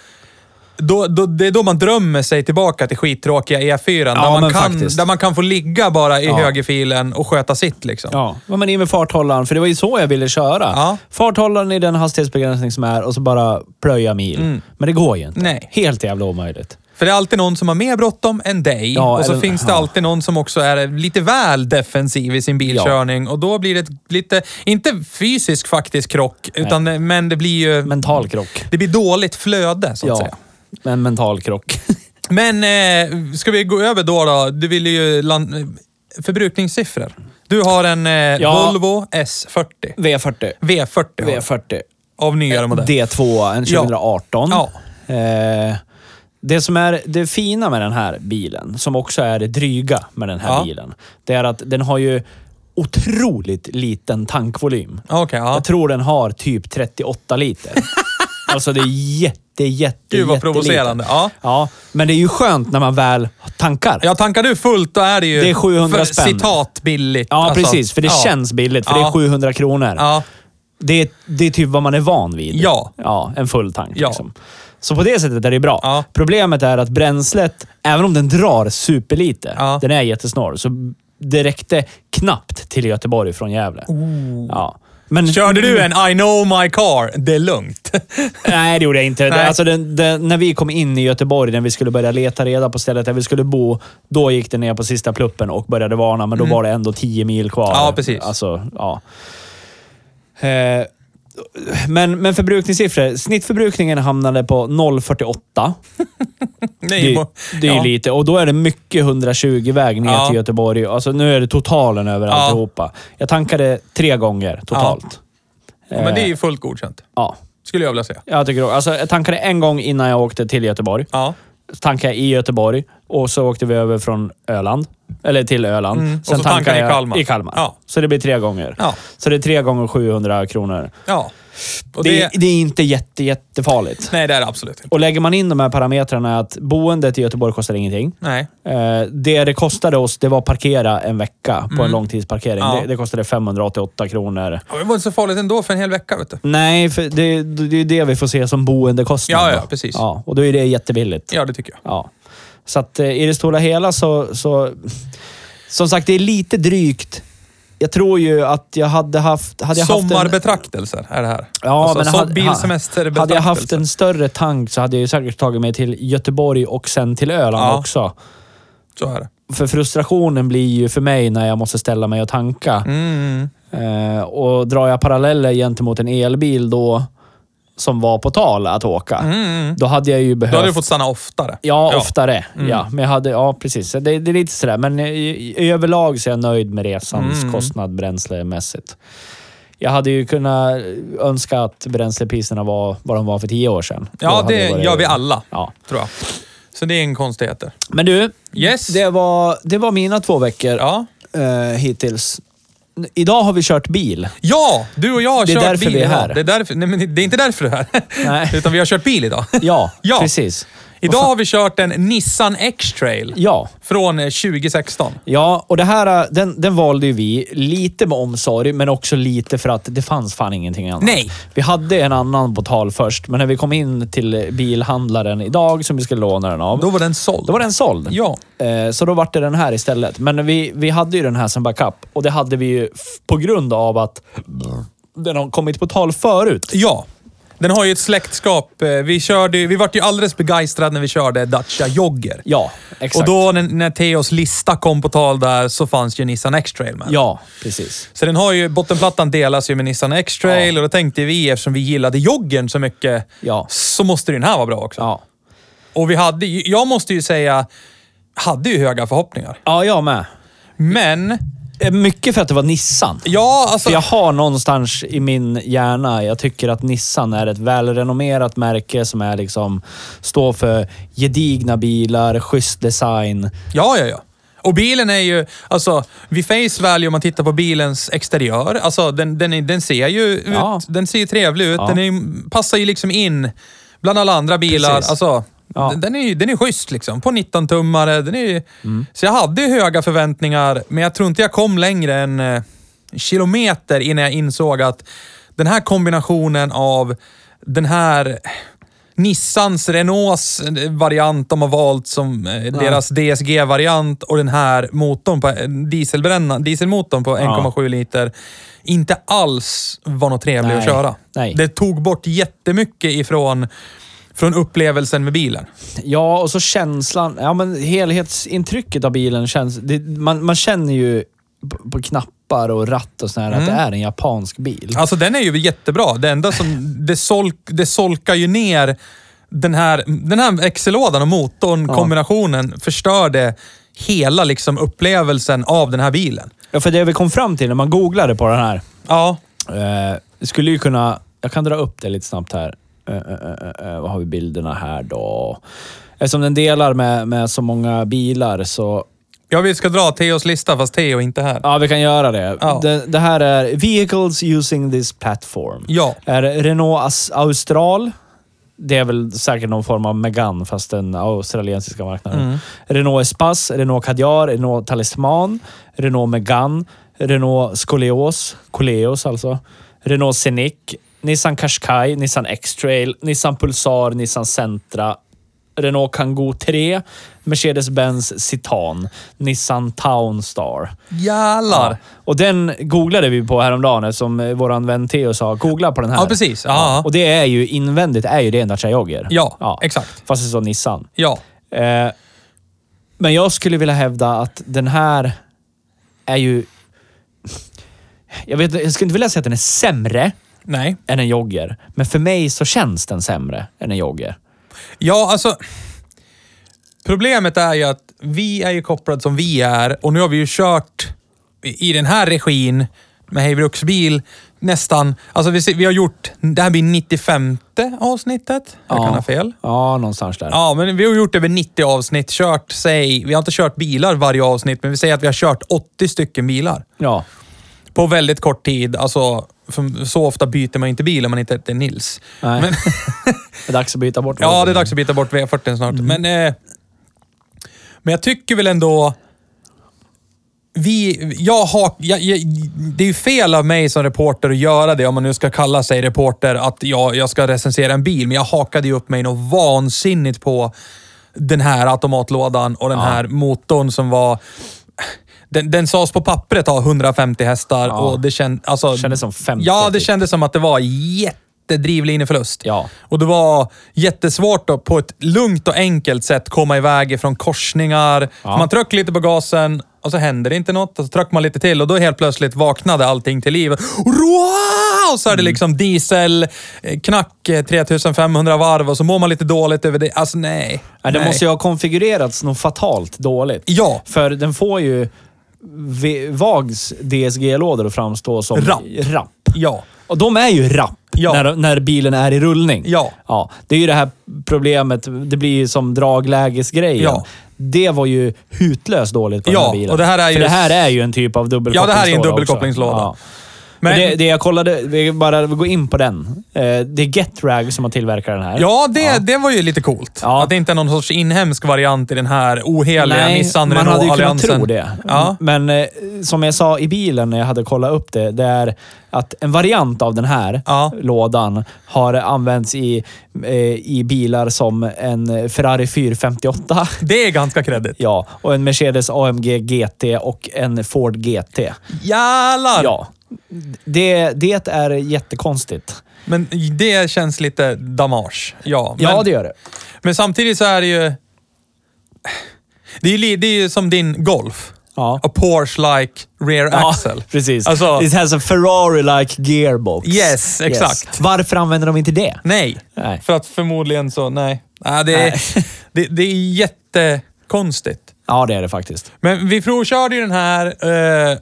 [SPEAKER 1] då, då, det är då man drömmer sig tillbaka till skittråkiga E4.
[SPEAKER 2] Ja,
[SPEAKER 1] där, man
[SPEAKER 2] men
[SPEAKER 1] kan,
[SPEAKER 2] faktiskt.
[SPEAKER 1] där man kan få ligga bara i högerfilen och sköta sitt. Liksom.
[SPEAKER 2] ja. ja men in med farthållaren, för det var ju så jag ville köra.
[SPEAKER 1] Ja.
[SPEAKER 2] Farthållaren i den hastighetsbegränsning som är och så bara plöja mil. Men det går ju inte.
[SPEAKER 1] Mm. Nej.
[SPEAKER 2] Helt jävla omöjligt.
[SPEAKER 1] För det är alltid någon som har mer bråttom än dig
[SPEAKER 2] Ja,
[SPEAKER 1] och så
[SPEAKER 2] eller-
[SPEAKER 1] finns det
[SPEAKER 2] ja.
[SPEAKER 1] alltid någon som också är lite väl defensiv i sin bilkörning och då blir det ett lite, inte fysisk faktisk krock, utan, men det blir ju...
[SPEAKER 2] Mental krock.
[SPEAKER 1] Det blir dåligt flöde, så att
[SPEAKER 2] Ja,
[SPEAKER 1] säga.
[SPEAKER 2] en mental krock.
[SPEAKER 1] Men eh, ska vi gå över då? då? Du ville ju... Land... Förbrukningssiffror. Du har en eh,
[SPEAKER 2] Ja.
[SPEAKER 1] Volvo S40.
[SPEAKER 2] V40.
[SPEAKER 1] V40, har du.
[SPEAKER 2] V40.
[SPEAKER 1] av nyare modell.
[SPEAKER 2] D2, en
[SPEAKER 1] Ja.
[SPEAKER 2] 2018.
[SPEAKER 1] Ja.
[SPEAKER 2] Eh, det som är det fina med den här bilen, som också är det dryga med den här
[SPEAKER 1] Ja.
[SPEAKER 2] bilen, det är att den har ju otroligt liten tankvolym.
[SPEAKER 1] Okej, ja.
[SPEAKER 2] Jag tror den har typ
[SPEAKER 1] <laughs>
[SPEAKER 2] 38 liter. alltså det är jätte, jätte,
[SPEAKER 1] Gud vad
[SPEAKER 2] jättelite.
[SPEAKER 1] provocerande. Ja.
[SPEAKER 2] Ja, men det är ju skönt när man väl tankar.
[SPEAKER 1] ja, tankar du fullt då är det ju...
[SPEAKER 2] Det är 700
[SPEAKER 1] för,
[SPEAKER 2] spänn.
[SPEAKER 1] Citat billigt.
[SPEAKER 2] Ja,
[SPEAKER 1] alltså.
[SPEAKER 2] precis. För det
[SPEAKER 1] Ja.
[SPEAKER 2] känns billigt, för
[SPEAKER 1] Ja.
[SPEAKER 2] det är 700 kronor.
[SPEAKER 1] Ja.
[SPEAKER 2] Det, är, det är typ vad man är van vid.
[SPEAKER 1] Ja.
[SPEAKER 2] Ja, en full tank.
[SPEAKER 1] Ja.
[SPEAKER 2] Liksom. Så på det sättet är det bra.
[SPEAKER 1] Ja.
[SPEAKER 2] Problemet är att bränslet, även om den drar superlite,
[SPEAKER 1] Ja.
[SPEAKER 2] den är jättesnål, så det räckte knappt till Göteborg från Gävle. Ja. Men,
[SPEAKER 1] Körde du en I know my car, det är lugnt. <laughs>
[SPEAKER 2] Nej, det gjorde jag inte.
[SPEAKER 1] Nej.
[SPEAKER 2] Alltså, den, den, när vi kom in i Göteborg, när vi skulle börja leta reda på stället där vi skulle bo, då gick den ner på sista pluppen och började varna, men då var det ändå 10 mil kvar.
[SPEAKER 1] Mm. Ja, precis.
[SPEAKER 2] Alltså, ja. Eh, men, men förbrukningssiffror. Snittförbrukningen hamnade på 0,48.
[SPEAKER 1] Nej,
[SPEAKER 2] Det,
[SPEAKER 1] mo-
[SPEAKER 2] det är
[SPEAKER 1] ja.
[SPEAKER 2] ju lite. Och då är det mycket 120-väg ner
[SPEAKER 1] Ja.
[SPEAKER 2] till Göteborg. Alltså, nu är det totalen över
[SPEAKER 1] Ja.
[SPEAKER 2] alltihopa. Jag tankade tre gånger totalt.
[SPEAKER 1] Ja, Men det är ju fullt godkänt,
[SPEAKER 2] Ja.
[SPEAKER 1] skulle jag vilja säga.
[SPEAKER 2] Jag tycker också. Alltså, jag tankade en gång innan jag åkte till Göteborg.
[SPEAKER 1] Ja.
[SPEAKER 2] Tankade jag i Göteborg och så åkte vi över från Öland. Eller till Öland.
[SPEAKER 1] Mm, och så tankade
[SPEAKER 2] jag
[SPEAKER 1] i Kalmar.
[SPEAKER 2] I Kalmar.
[SPEAKER 1] Ja.
[SPEAKER 2] Så det blir tre gånger.
[SPEAKER 1] Ja.
[SPEAKER 2] Så det är tre gånger 700 kronor.
[SPEAKER 1] ja. Och
[SPEAKER 2] Det,
[SPEAKER 1] det,
[SPEAKER 2] är- det är inte jätte, jättefarligt.
[SPEAKER 1] Nej, det är det absolut inte.
[SPEAKER 2] Och lägger man in de här parametrarna att boendet i Göteborg kostar ingenting.
[SPEAKER 1] Nej.
[SPEAKER 2] Eh, Det det kostade oss, det var att parkera en vecka på en långtidsparkering.
[SPEAKER 1] Mm. Ja.
[SPEAKER 2] Det, det kostade 588 kronor.
[SPEAKER 1] Ja, Det var inte så farligt ändå för en hel vecka, vet du.
[SPEAKER 2] Nej, för det, det är ju det vi får se som boendekostnad.
[SPEAKER 1] Ja, ja,
[SPEAKER 2] då.
[SPEAKER 1] precis.
[SPEAKER 2] Ja, och då är det jättebilligt.
[SPEAKER 1] Ja, det tycker jag.
[SPEAKER 2] Ja. Så att eh, i det stora hela så, så... Som sagt, det är lite drygt. Jag tror ju att jag hade haft... Hade jag haft en,
[SPEAKER 1] Sommarbetraktelser är det här. Alltså,
[SPEAKER 2] Ja, men
[SPEAKER 1] så
[SPEAKER 2] hade-
[SPEAKER 1] bilsemesterbetraktelser.
[SPEAKER 2] hade jag haft en större tank så hade jag ju säkert tagit mig till Göteborg och sen till Öland
[SPEAKER 1] Ja.
[SPEAKER 2] också.
[SPEAKER 1] Så är det.
[SPEAKER 2] För frustrationen blir ju för mig när jag måste ställa mig och tanka.
[SPEAKER 1] Mm.
[SPEAKER 2] Eh, och drar jag paralleller gentemot en elbil då, som var på tal att åka, då hade jag ju
[SPEAKER 1] Mm. Då
[SPEAKER 2] behövt...
[SPEAKER 1] hade du fått stanna oftare.
[SPEAKER 2] Ja, oftare.
[SPEAKER 1] Mm.
[SPEAKER 2] Ja, men jag hade, ja, precis. Så Det, det är lite sådär, men i, i, överlag så är jag nöjd med resans
[SPEAKER 1] Mm.
[SPEAKER 2] kostnad bränslemässigt. Jag hade ju kunnat önska att bränslepriserna var vad de var för tio år sedan. Då
[SPEAKER 1] Ja,
[SPEAKER 2] hade
[SPEAKER 1] det
[SPEAKER 2] varit-
[SPEAKER 1] gör vi alla,
[SPEAKER 2] Ja.
[SPEAKER 1] tror jag. Så det är inga konstigheter.
[SPEAKER 2] Men du,
[SPEAKER 1] Yes.
[SPEAKER 2] det, var, det var mina två veckor
[SPEAKER 1] Ja.
[SPEAKER 2] eh, hittills. Idag har vi kört bil.
[SPEAKER 1] ja, du och jag har
[SPEAKER 2] Det är
[SPEAKER 1] kört
[SPEAKER 2] därför
[SPEAKER 1] bil.
[SPEAKER 2] vi är
[SPEAKER 1] idag.
[SPEAKER 2] här.
[SPEAKER 1] Det är, därför, nej, men det är inte därför du är här.
[SPEAKER 2] Nej.
[SPEAKER 1] <laughs> Utan vi har kört bil idag.
[SPEAKER 2] <laughs> Ja,
[SPEAKER 1] <laughs> Ja.
[SPEAKER 2] precis.
[SPEAKER 1] Idag har vi kört en Nissan X-trail
[SPEAKER 2] Ja.
[SPEAKER 1] från eh, 2016.
[SPEAKER 2] Ja, och det här, eh, den, den valde ju vi lite med omsorg, men också lite för att det fanns fan ingenting annat.
[SPEAKER 1] Nej.
[SPEAKER 2] Vi hade en annan på tal först, men när vi kom in till bilhandlaren idag som vi skulle låna den av,
[SPEAKER 1] Då
[SPEAKER 2] då,
[SPEAKER 1] var den såld.
[SPEAKER 2] var den såld.
[SPEAKER 1] Ja.
[SPEAKER 2] Eh, Så då vart det den här istället. Men vi, vi hade ju den här som backup och det hade vi ju f- på grund av att den har kommit på tal förut.
[SPEAKER 1] Ja. Den har ju ett släktskap. Eh, Vi, körde, ju- vi vart ju alldeles begeistrade när vi körde Dacia Jogger.
[SPEAKER 2] Ja, exakt.
[SPEAKER 1] Och då när, när Theos lista kom på tal där så fanns ju Nissan X-trail med.
[SPEAKER 2] Ja, precis.
[SPEAKER 1] Så den har ju, bottenplattan delas ju med Nissan X-trail
[SPEAKER 2] Ja.
[SPEAKER 1] och då tänkte vi, eftersom vi gillade joggen så mycket,
[SPEAKER 2] Ja.
[SPEAKER 1] så måste ju den här vara bra också.
[SPEAKER 2] Ja.
[SPEAKER 1] Och vi hade ju- jag måste ju säga, hade ju höga förhoppningar.
[SPEAKER 2] Ja, jag med.
[SPEAKER 1] Men,
[SPEAKER 2] Eh, Mycket för att det var Nissan.
[SPEAKER 1] ja alltså...
[SPEAKER 2] För jag har någonstans i min hjärna, jag tycker att Nissan är ett välrenommerat märke som är liksom, står för gedigna bilar, schysst design.
[SPEAKER 1] Ja, ja, ja. Och bilen är ju, alltså vid face value om man tittar på bilens exteriör, alltså den, den, är- den ser ju ut,
[SPEAKER 2] Ja.
[SPEAKER 1] den ser ju trevlig ut,
[SPEAKER 2] Ja.
[SPEAKER 1] den är, ju- passar ju liksom in bland alla andra bilar.
[SPEAKER 2] Precis.
[SPEAKER 1] Alltså,
[SPEAKER 2] Ja.
[SPEAKER 1] den- den, är ju, den är schysst liksom, på 19-tummare. Den är ju, Så jag hade ju höga förväntningar, men jag tror inte jag kom längre än eh, en kilometer innan jag insåg att den här kombinationen av den här Nissans, Renaults eh, variant de har valt som eh, deras DSG-variant och den här motorn på, eh, dieselbränna, dieselmotorn på 1,7 liter inte alls var något trevlig att
[SPEAKER 2] Nej.
[SPEAKER 1] köra.
[SPEAKER 2] Nej.
[SPEAKER 1] Det tog bort jättemycket ifrån Från upplevelsen med bilen.
[SPEAKER 2] Ja, och så känslan. Ja, men helhetsintrycket av bilen känns... Det, man, man känner ju på, på knappar och ratt och sådär att det är en japansk bil.
[SPEAKER 1] Alltså den är ju jättebra. Det enda som... Det, solk, det solkar ju ner den här, den här XC-lådan och motorn, kombinationen, förstörde hela liksom upplevelsen av den här bilen.
[SPEAKER 2] Ja, för det vi kom fram till när man googlade på den här
[SPEAKER 1] Ja,
[SPEAKER 2] Eh, skulle ju kunna... Jag kan dra upp det lite snabbt här. Eh, eh, eh, eh, vad har vi bilderna här då? Eftersom den delar med, med så många bilar så...
[SPEAKER 1] ja vi ska dra Theos lista fast Theo är inte här.
[SPEAKER 2] Ja, vi kan göra det.
[SPEAKER 1] Ja.
[SPEAKER 2] Det, det här är Vehicles using this platform.
[SPEAKER 1] Ja.
[SPEAKER 2] Är Renault As- Austral. Det är väl säkert någon form av Megane, fast den australiensiska marknaden. Renault Espace, Renault Kadjar, Renault Talisman, Renault Megane, Renault Skoleos, Coleos alltså, Renault Scenic, Nissan Qashqai, Nissan X-Trail, Nissan Pulsar, Nissan Sentra, Renault Kangoo 3, Mercedes-Benz Citan, Nissan Townstar.
[SPEAKER 1] Jävlar!
[SPEAKER 2] Och den googlade vi på häromdagen som eh, våran vän Theo sa, googla på den här.
[SPEAKER 1] Ja, precis. Ja.
[SPEAKER 2] Och det är ju invändigt, är ju det en Dacia Jogger.
[SPEAKER 1] Ja, exakt.
[SPEAKER 2] Fast det står Nissan.
[SPEAKER 1] Ja.
[SPEAKER 2] Eh, men jag skulle vilja hävda att den här är ju... Jag, vet, jag skulle inte vilja säga att den är sämre
[SPEAKER 1] Nej.
[SPEAKER 2] än en jogger, men för mig så känns den sämre än en jogger.
[SPEAKER 1] Ja, alltså. Problemet är ju att vi är ju kopplade som vi är och nu har vi ju kört i i den här regin med Hej Bruksbil nästan. Alltså vi, ser- vi har gjort, det här blir 95 avsnittet. Jag kan ha fel.
[SPEAKER 2] Ja, någonstans där.
[SPEAKER 1] Ja, men vi har gjort över 90 avsnitt, kört, säg, vi har inte kört bilar varje avsnitt, men vi säger att vi har kört 80 stycken bilar
[SPEAKER 2] ja.
[SPEAKER 1] på väldigt kort tid. Alltså, för- så ofta byter man inte bil om man inte heter Nils.
[SPEAKER 2] Nej.
[SPEAKER 1] Men-
[SPEAKER 2] <laughs> det är dags att byta bort Mm.
[SPEAKER 1] Ja, det är dags att byta bort V40 snart. Men, eh, men jag tycker väl ändå... Vi, jag har, jag, jag, det är ju fel av mig som reporter att göra det, om man nu ska kalla sig reporter, att jag, jag ska recensera en bil. Men jag hakade ju upp mig något vansinnigt på den här automatlådan och den här motorn som var... Den, den sades på pappret ha 150 hästar och det känd, alltså,
[SPEAKER 2] Kändes som 50
[SPEAKER 1] Ja, det
[SPEAKER 2] typ.
[SPEAKER 1] kändes som att det var jättedrivlineförlust.
[SPEAKER 2] Ja.
[SPEAKER 1] Och det var jättesvårt att på ett lugnt och enkelt sätt komma iväg ifrån korsningar.
[SPEAKER 2] Ja.
[SPEAKER 1] Man tryckte lite på gasen och så händer det inte något. Och så tryckte man lite till och då helt plötsligt vaknade allting till liv. Roar! Och så
[SPEAKER 2] Mm.
[SPEAKER 1] är det liksom diesel, eh, knack, eh, 3500 varv och så mår man lite dåligt över det. Alltså nej.
[SPEAKER 2] Ja, det
[SPEAKER 1] nej.
[SPEAKER 2] måste ju ha konfigurerats något fatalt dåligt.
[SPEAKER 1] Ja.
[SPEAKER 2] För den får ju v- VAGs DSG-lådor att framstå som
[SPEAKER 1] Rapp.
[SPEAKER 2] rapp.
[SPEAKER 1] Ja.
[SPEAKER 2] Och de är ju rapp
[SPEAKER 1] Ja.
[SPEAKER 2] när, när bilen är i rullning.
[SPEAKER 1] Ja.
[SPEAKER 2] ja. Det är ju det här problemet, det blir ju som draglägesgrejen.
[SPEAKER 1] Ja.
[SPEAKER 2] Det var ju hutlöst dåligt på
[SPEAKER 1] Ja,
[SPEAKER 2] den här bilen.
[SPEAKER 1] och det här är
[SPEAKER 2] För
[SPEAKER 1] ju-
[SPEAKER 2] det här är ju en typ av
[SPEAKER 1] Ja,
[SPEAKER 2] dubbelkopplingslåda
[SPEAKER 1] det här är en
[SPEAKER 2] också.
[SPEAKER 1] dubbelkopplingslåda.
[SPEAKER 2] Ja.
[SPEAKER 1] Men-
[SPEAKER 2] Men det, det jag kollade, vi bara gå in på den. Eh, Det är GetRag som har tillverkat den här.
[SPEAKER 1] Ja, det, det var ju lite coolt.
[SPEAKER 2] Ja.
[SPEAKER 1] Att det inte är någon sorts inhemsk variant i den här oheliga Nissan
[SPEAKER 2] man hade ju kunnat
[SPEAKER 1] Renault-alliansen.
[SPEAKER 2] tro det.
[SPEAKER 1] Ja.
[SPEAKER 2] Men eh, som jag sa i bilen när jag hade kollat upp det, det är att en variant av den här
[SPEAKER 1] Ja.
[SPEAKER 2] lådan har använts i, eh, i bilar som en Ferrari 458.
[SPEAKER 1] Det är ganska kreddigt.
[SPEAKER 2] <laughs> Ja, och en Mercedes AMG GT och en Ford GT.
[SPEAKER 1] Jävlar!
[SPEAKER 2] Ja. Det, det är jättekonstigt.
[SPEAKER 1] Men det känns lite damage. Ja, men,
[SPEAKER 2] Ja, det gör det.
[SPEAKER 1] men samtidigt så är det ju... Det är ju, li- det är ju som din Golf.
[SPEAKER 2] Ja.
[SPEAKER 1] A Porsche-like rear axle.
[SPEAKER 2] <laughs> precis.
[SPEAKER 1] Alltså,
[SPEAKER 2] It has a Ferrari-like gearbox.
[SPEAKER 1] Yes, exakt.
[SPEAKER 2] Varför använder de inte det?
[SPEAKER 1] nej.
[SPEAKER 2] Nej.
[SPEAKER 1] För att förmodligen så, nej. nej, det, är, det, det är jättekonstigt.
[SPEAKER 2] Ja, det är det faktiskt.
[SPEAKER 1] Men vi provkörde ju den här eh,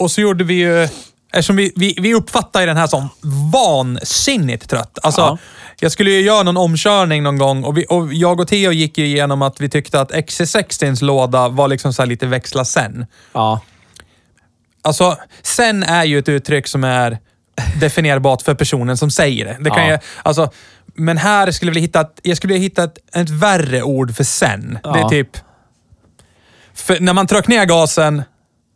[SPEAKER 1] och så gjorde vi ju... Eftersom vi, vi, vi uppfattar ju den här som vansinnigt trött. Alltså,
[SPEAKER 2] Ja.
[SPEAKER 1] jag skulle ju göra någon omkörning någon gång och, vi, och jag och Theo gick ju igenom att vi tyckte att XC60s låda var liksom så här lite växla sen.
[SPEAKER 2] Ja.
[SPEAKER 1] Alltså, sen är ju ett uttryck som är definierbart för personen som säger det. det kan
[SPEAKER 2] Ja.
[SPEAKER 1] ju, alltså, men här skulle jag vilja hitta, ett, jag skulle vilja hitta ett, ett värre ord för sen. Det är
[SPEAKER 2] Ja.
[SPEAKER 1] typ... För när man tryckte ner gasen,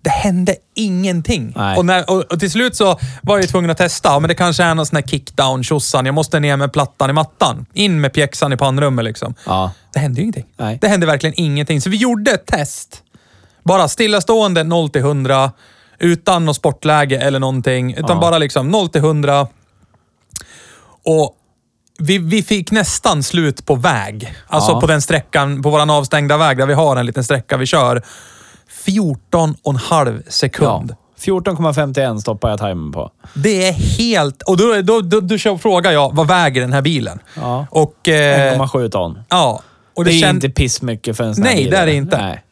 [SPEAKER 1] det hände ingenting.
[SPEAKER 2] Nej.
[SPEAKER 1] Och, när, och, och till slut så var jag ju tvungen att testa. Ja, Men det kanske är någon sån här kickdown tjosan Jag måste ner med plattan i mattan. In med pjäxan i pannrummet liksom.
[SPEAKER 2] Ja.
[SPEAKER 1] Det hände ju ingenting.
[SPEAKER 2] Nej.
[SPEAKER 1] Det hände verkligen ingenting. Så vi gjorde ett test. Bara stillastående 0 till 100. Utan något sportläge eller någonting. Utan bara liksom 0 till 100. Och vi, vi fick nästan slut på väg. Alltså
[SPEAKER 2] Ja.
[SPEAKER 1] på den sträckan, på våran avstängda väg där vi har en liten sträcka vi kör. 14 och en halv
[SPEAKER 2] Ja.
[SPEAKER 1] sekund.
[SPEAKER 2] 14,51 stoppar jag timern på.
[SPEAKER 1] Det är helt... Och då, då, då, då kör- frågar jag, vad väger den här bilen?
[SPEAKER 2] Ja.
[SPEAKER 1] Och... Eh,
[SPEAKER 2] 1,7 ton.
[SPEAKER 1] ja. Och
[SPEAKER 2] Det,
[SPEAKER 1] det,
[SPEAKER 2] är
[SPEAKER 1] kän-
[SPEAKER 2] inte pissmycket för en sån här
[SPEAKER 1] Nej,
[SPEAKER 2] bil,
[SPEAKER 1] det är det
[SPEAKER 2] eller?
[SPEAKER 1] inte.
[SPEAKER 2] Nej.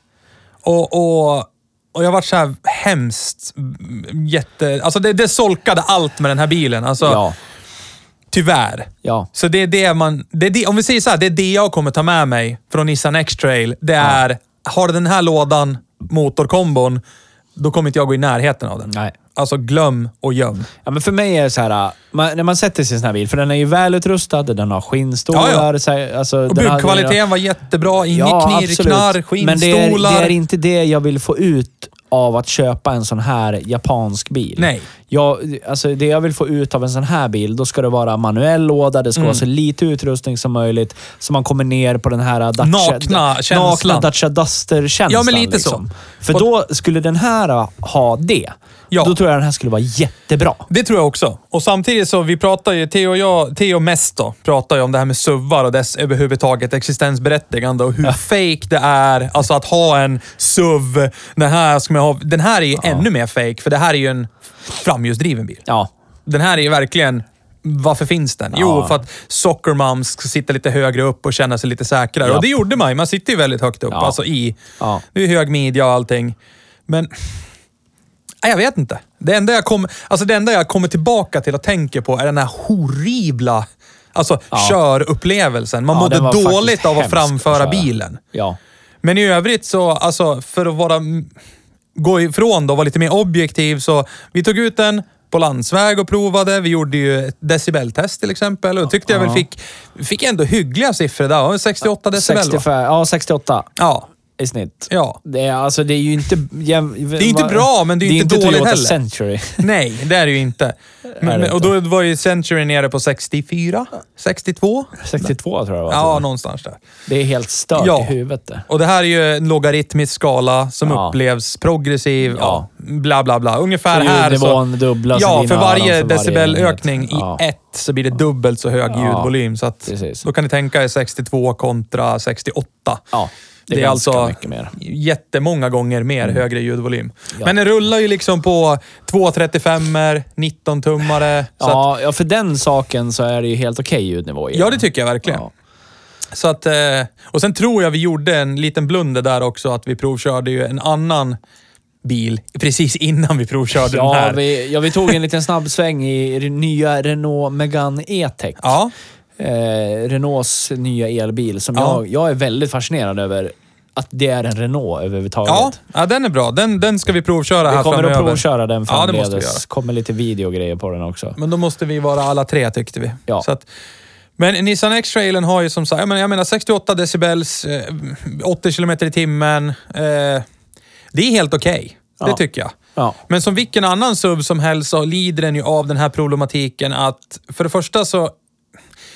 [SPEAKER 1] Och, och, och jag vart så här hemskt mm, jätte... Alltså det, det solkade allt med den här bilen. Alltså,
[SPEAKER 2] Ja.
[SPEAKER 1] Tyvärr.
[SPEAKER 2] Ja.
[SPEAKER 1] Så det är det man... Det är det, om vi säger så här, det är det jag kommer ta med mig från Nissan X-Trail. Det är, har den här lådan, motorkombon, då kommer inte jag gå i närheten av den.
[SPEAKER 2] Nej.
[SPEAKER 1] Alltså glöm och göm.
[SPEAKER 2] Ja, men för mig är det så här, äh, man, när man sätter sig i en sån här bil, för den är ju välutrustad, den har skinnstolar.
[SPEAKER 1] Ja, ja.
[SPEAKER 2] Så här, alltså,
[SPEAKER 1] Och
[SPEAKER 2] den har-
[SPEAKER 1] byggkvaliteten var jättebra. Inget knirr, knarr,
[SPEAKER 2] Men det är,
[SPEAKER 1] skinnstolar.
[SPEAKER 2] det är inte det jag vill få ut av att köpa en sån här japansk bil.
[SPEAKER 1] Nej.
[SPEAKER 2] Jag, alltså det jag vill få ut av en sån här bil, då ska det vara manuell låda, det ska
[SPEAKER 1] Mm.
[SPEAKER 2] vara så lite utrustning som möjligt, så man kommer ner på den här Dacia,
[SPEAKER 1] Nakna känslan.
[SPEAKER 2] nakna Dacia Duster-känslan.
[SPEAKER 1] Ja, men lite så.
[SPEAKER 2] liksom. För då skulle den här ha det.
[SPEAKER 1] Ja.
[SPEAKER 2] Då tror jag den här skulle vara jättebra.
[SPEAKER 1] Det tror jag också. Och samtidigt så, vi pratar ju, Theo och jag, Theo mest då, pratar ju om det här med SUVar och dess överhuvudtaget existensberättigande och hur fake det är. Alltså att ha en SUV. Den här, ska man ha, den här är ju ännu mer fake, för det här är ju en framhjulsdriven bil.
[SPEAKER 2] Ja.
[SPEAKER 1] Den här är ju verkligen... Varför finns den? Jo,
[SPEAKER 2] Ja.
[SPEAKER 1] för att soccer moms ska sitta lite högre upp och känna sig lite säkrare. Och
[SPEAKER 2] Japp.
[SPEAKER 1] det gjorde man ju. Man sitter ju väldigt högt upp.
[SPEAKER 2] Ja.
[SPEAKER 1] Alltså i...
[SPEAKER 2] Ja.
[SPEAKER 1] Det är hög midja och allting. Men... Nej, jag vet inte. Det enda jag, kom, alltså det enda jag kommer tillbaka till och tänker på är den här horribla alltså, körupplevelsen. Man
[SPEAKER 2] Ja,
[SPEAKER 1] mådde
[SPEAKER 2] den var
[SPEAKER 1] dåligt
[SPEAKER 2] faktiskt
[SPEAKER 1] av att
[SPEAKER 2] hemsk alltså. att
[SPEAKER 1] framföra
[SPEAKER 2] köra.
[SPEAKER 1] bilen.
[SPEAKER 2] Ja.
[SPEAKER 1] Men i övrigt så, alltså för att vara, gå ifrån då och vara lite mer objektiv så vi tog ut den på landsväg och provade. Vi gjorde ju ett decibeltest till exempel och tyckte jag väl fick, fick ändå hyggliga siffror där. 68 decibel va?
[SPEAKER 2] 65, ja, 68
[SPEAKER 1] Ja,
[SPEAKER 2] i snitt.
[SPEAKER 1] ja.
[SPEAKER 2] Det är, alltså, det är ju inte... Det
[SPEAKER 1] är inte bra, men det är ju inte dåligt
[SPEAKER 2] Toyota
[SPEAKER 1] heller.
[SPEAKER 2] Century.
[SPEAKER 1] Nej, det är det ju inte.
[SPEAKER 2] Är
[SPEAKER 1] Men,
[SPEAKER 2] det
[SPEAKER 1] och då var ju Century nere på 64, 62.
[SPEAKER 2] 62 tror jag det var. typ.
[SPEAKER 1] Ja, någonstans där.
[SPEAKER 2] Det är helt stört
[SPEAKER 1] Ja.
[SPEAKER 2] i huvudet det.
[SPEAKER 1] Och det här är ju en logaritmisk skala som
[SPEAKER 2] Ja.
[SPEAKER 1] upplevs progressiv. Ja. Bla, bla, bla. Ungefär
[SPEAKER 2] Så
[SPEAKER 1] här
[SPEAKER 2] ljudnivån dubblas i
[SPEAKER 1] Ja,
[SPEAKER 2] dina
[SPEAKER 1] för varje
[SPEAKER 2] öron för varje
[SPEAKER 1] decibelökning
[SPEAKER 2] enhet.
[SPEAKER 1] i
[SPEAKER 2] Ja.
[SPEAKER 1] ett så blir det dubbelt så hög ljudvolym. Så att
[SPEAKER 2] precis.
[SPEAKER 1] då kan ni tänka er 62 kontra 68.
[SPEAKER 2] Ja, det är ganska
[SPEAKER 1] alltså-
[SPEAKER 2] mycket mer. Mm.
[SPEAKER 1] jättemånga gånger mer högre ljudvolym. Men den rullar ju liksom på 235 19-tummare. Så att,
[SPEAKER 2] Ja, ja, för den saken så är det ju helt okej ljudnivå i
[SPEAKER 1] ja,
[SPEAKER 2] den.
[SPEAKER 1] det tycker jag verkligen.
[SPEAKER 2] Ja.
[SPEAKER 1] Så att, eh, och sen tror jag vi gjorde en liten blunder där också, att vi provkörde ju en annan bil precis innan vi provkörde den
[SPEAKER 2] Ja
[SPEAKER 1] här.
[SPEAKER 2] vi, ja, vi tog en liten snabbsväng i den nya Renault Megane E-Tech.
[SPEAKER 1] Ja,
[SPEAKER 2] Eh, Renaults nya elbil som
[SPEAKER 1] Ja.
[SPEAKER 2] jag, jag är väldigt fascinerad över. Att det är en Renault överhuvudtaget.
[SPEAKER 1] ja, ja, den är bra. Den, den ska vi provköra
[SPEAKER 2] Vi
[SPEAKER 1] här
[SPEAKER 2] kommer
[SPEAKER 1] framöver.
[SPEAKER 2] att provköra den
[SPEAKER 1] Ja, det
[SPEAKER 2] framledes.
[SPEAKER 1] måste vi göra.
[SPEAKER 2] kommer lite videogrejer på den också.
[SPEAKER 1] Men då måste vi vara alla tre tyckte vi.
[SPEAKER 2] Ja.
[SPEAKER 1] Så att, men Nissan X-trailen har ju som sagt, jag menar, jag menar 68 decibels, eh, 80 kilometer i timmen. Eh, det är helt okej. Det
[SPEAKER 2] Ja.
[SPEAKER 1] tycker jag.
[SPEAKER 2] Ja.
[SPEAKER 1] Men som vilken annan SUV som helst så lider den ju av den här problematiken att för det första så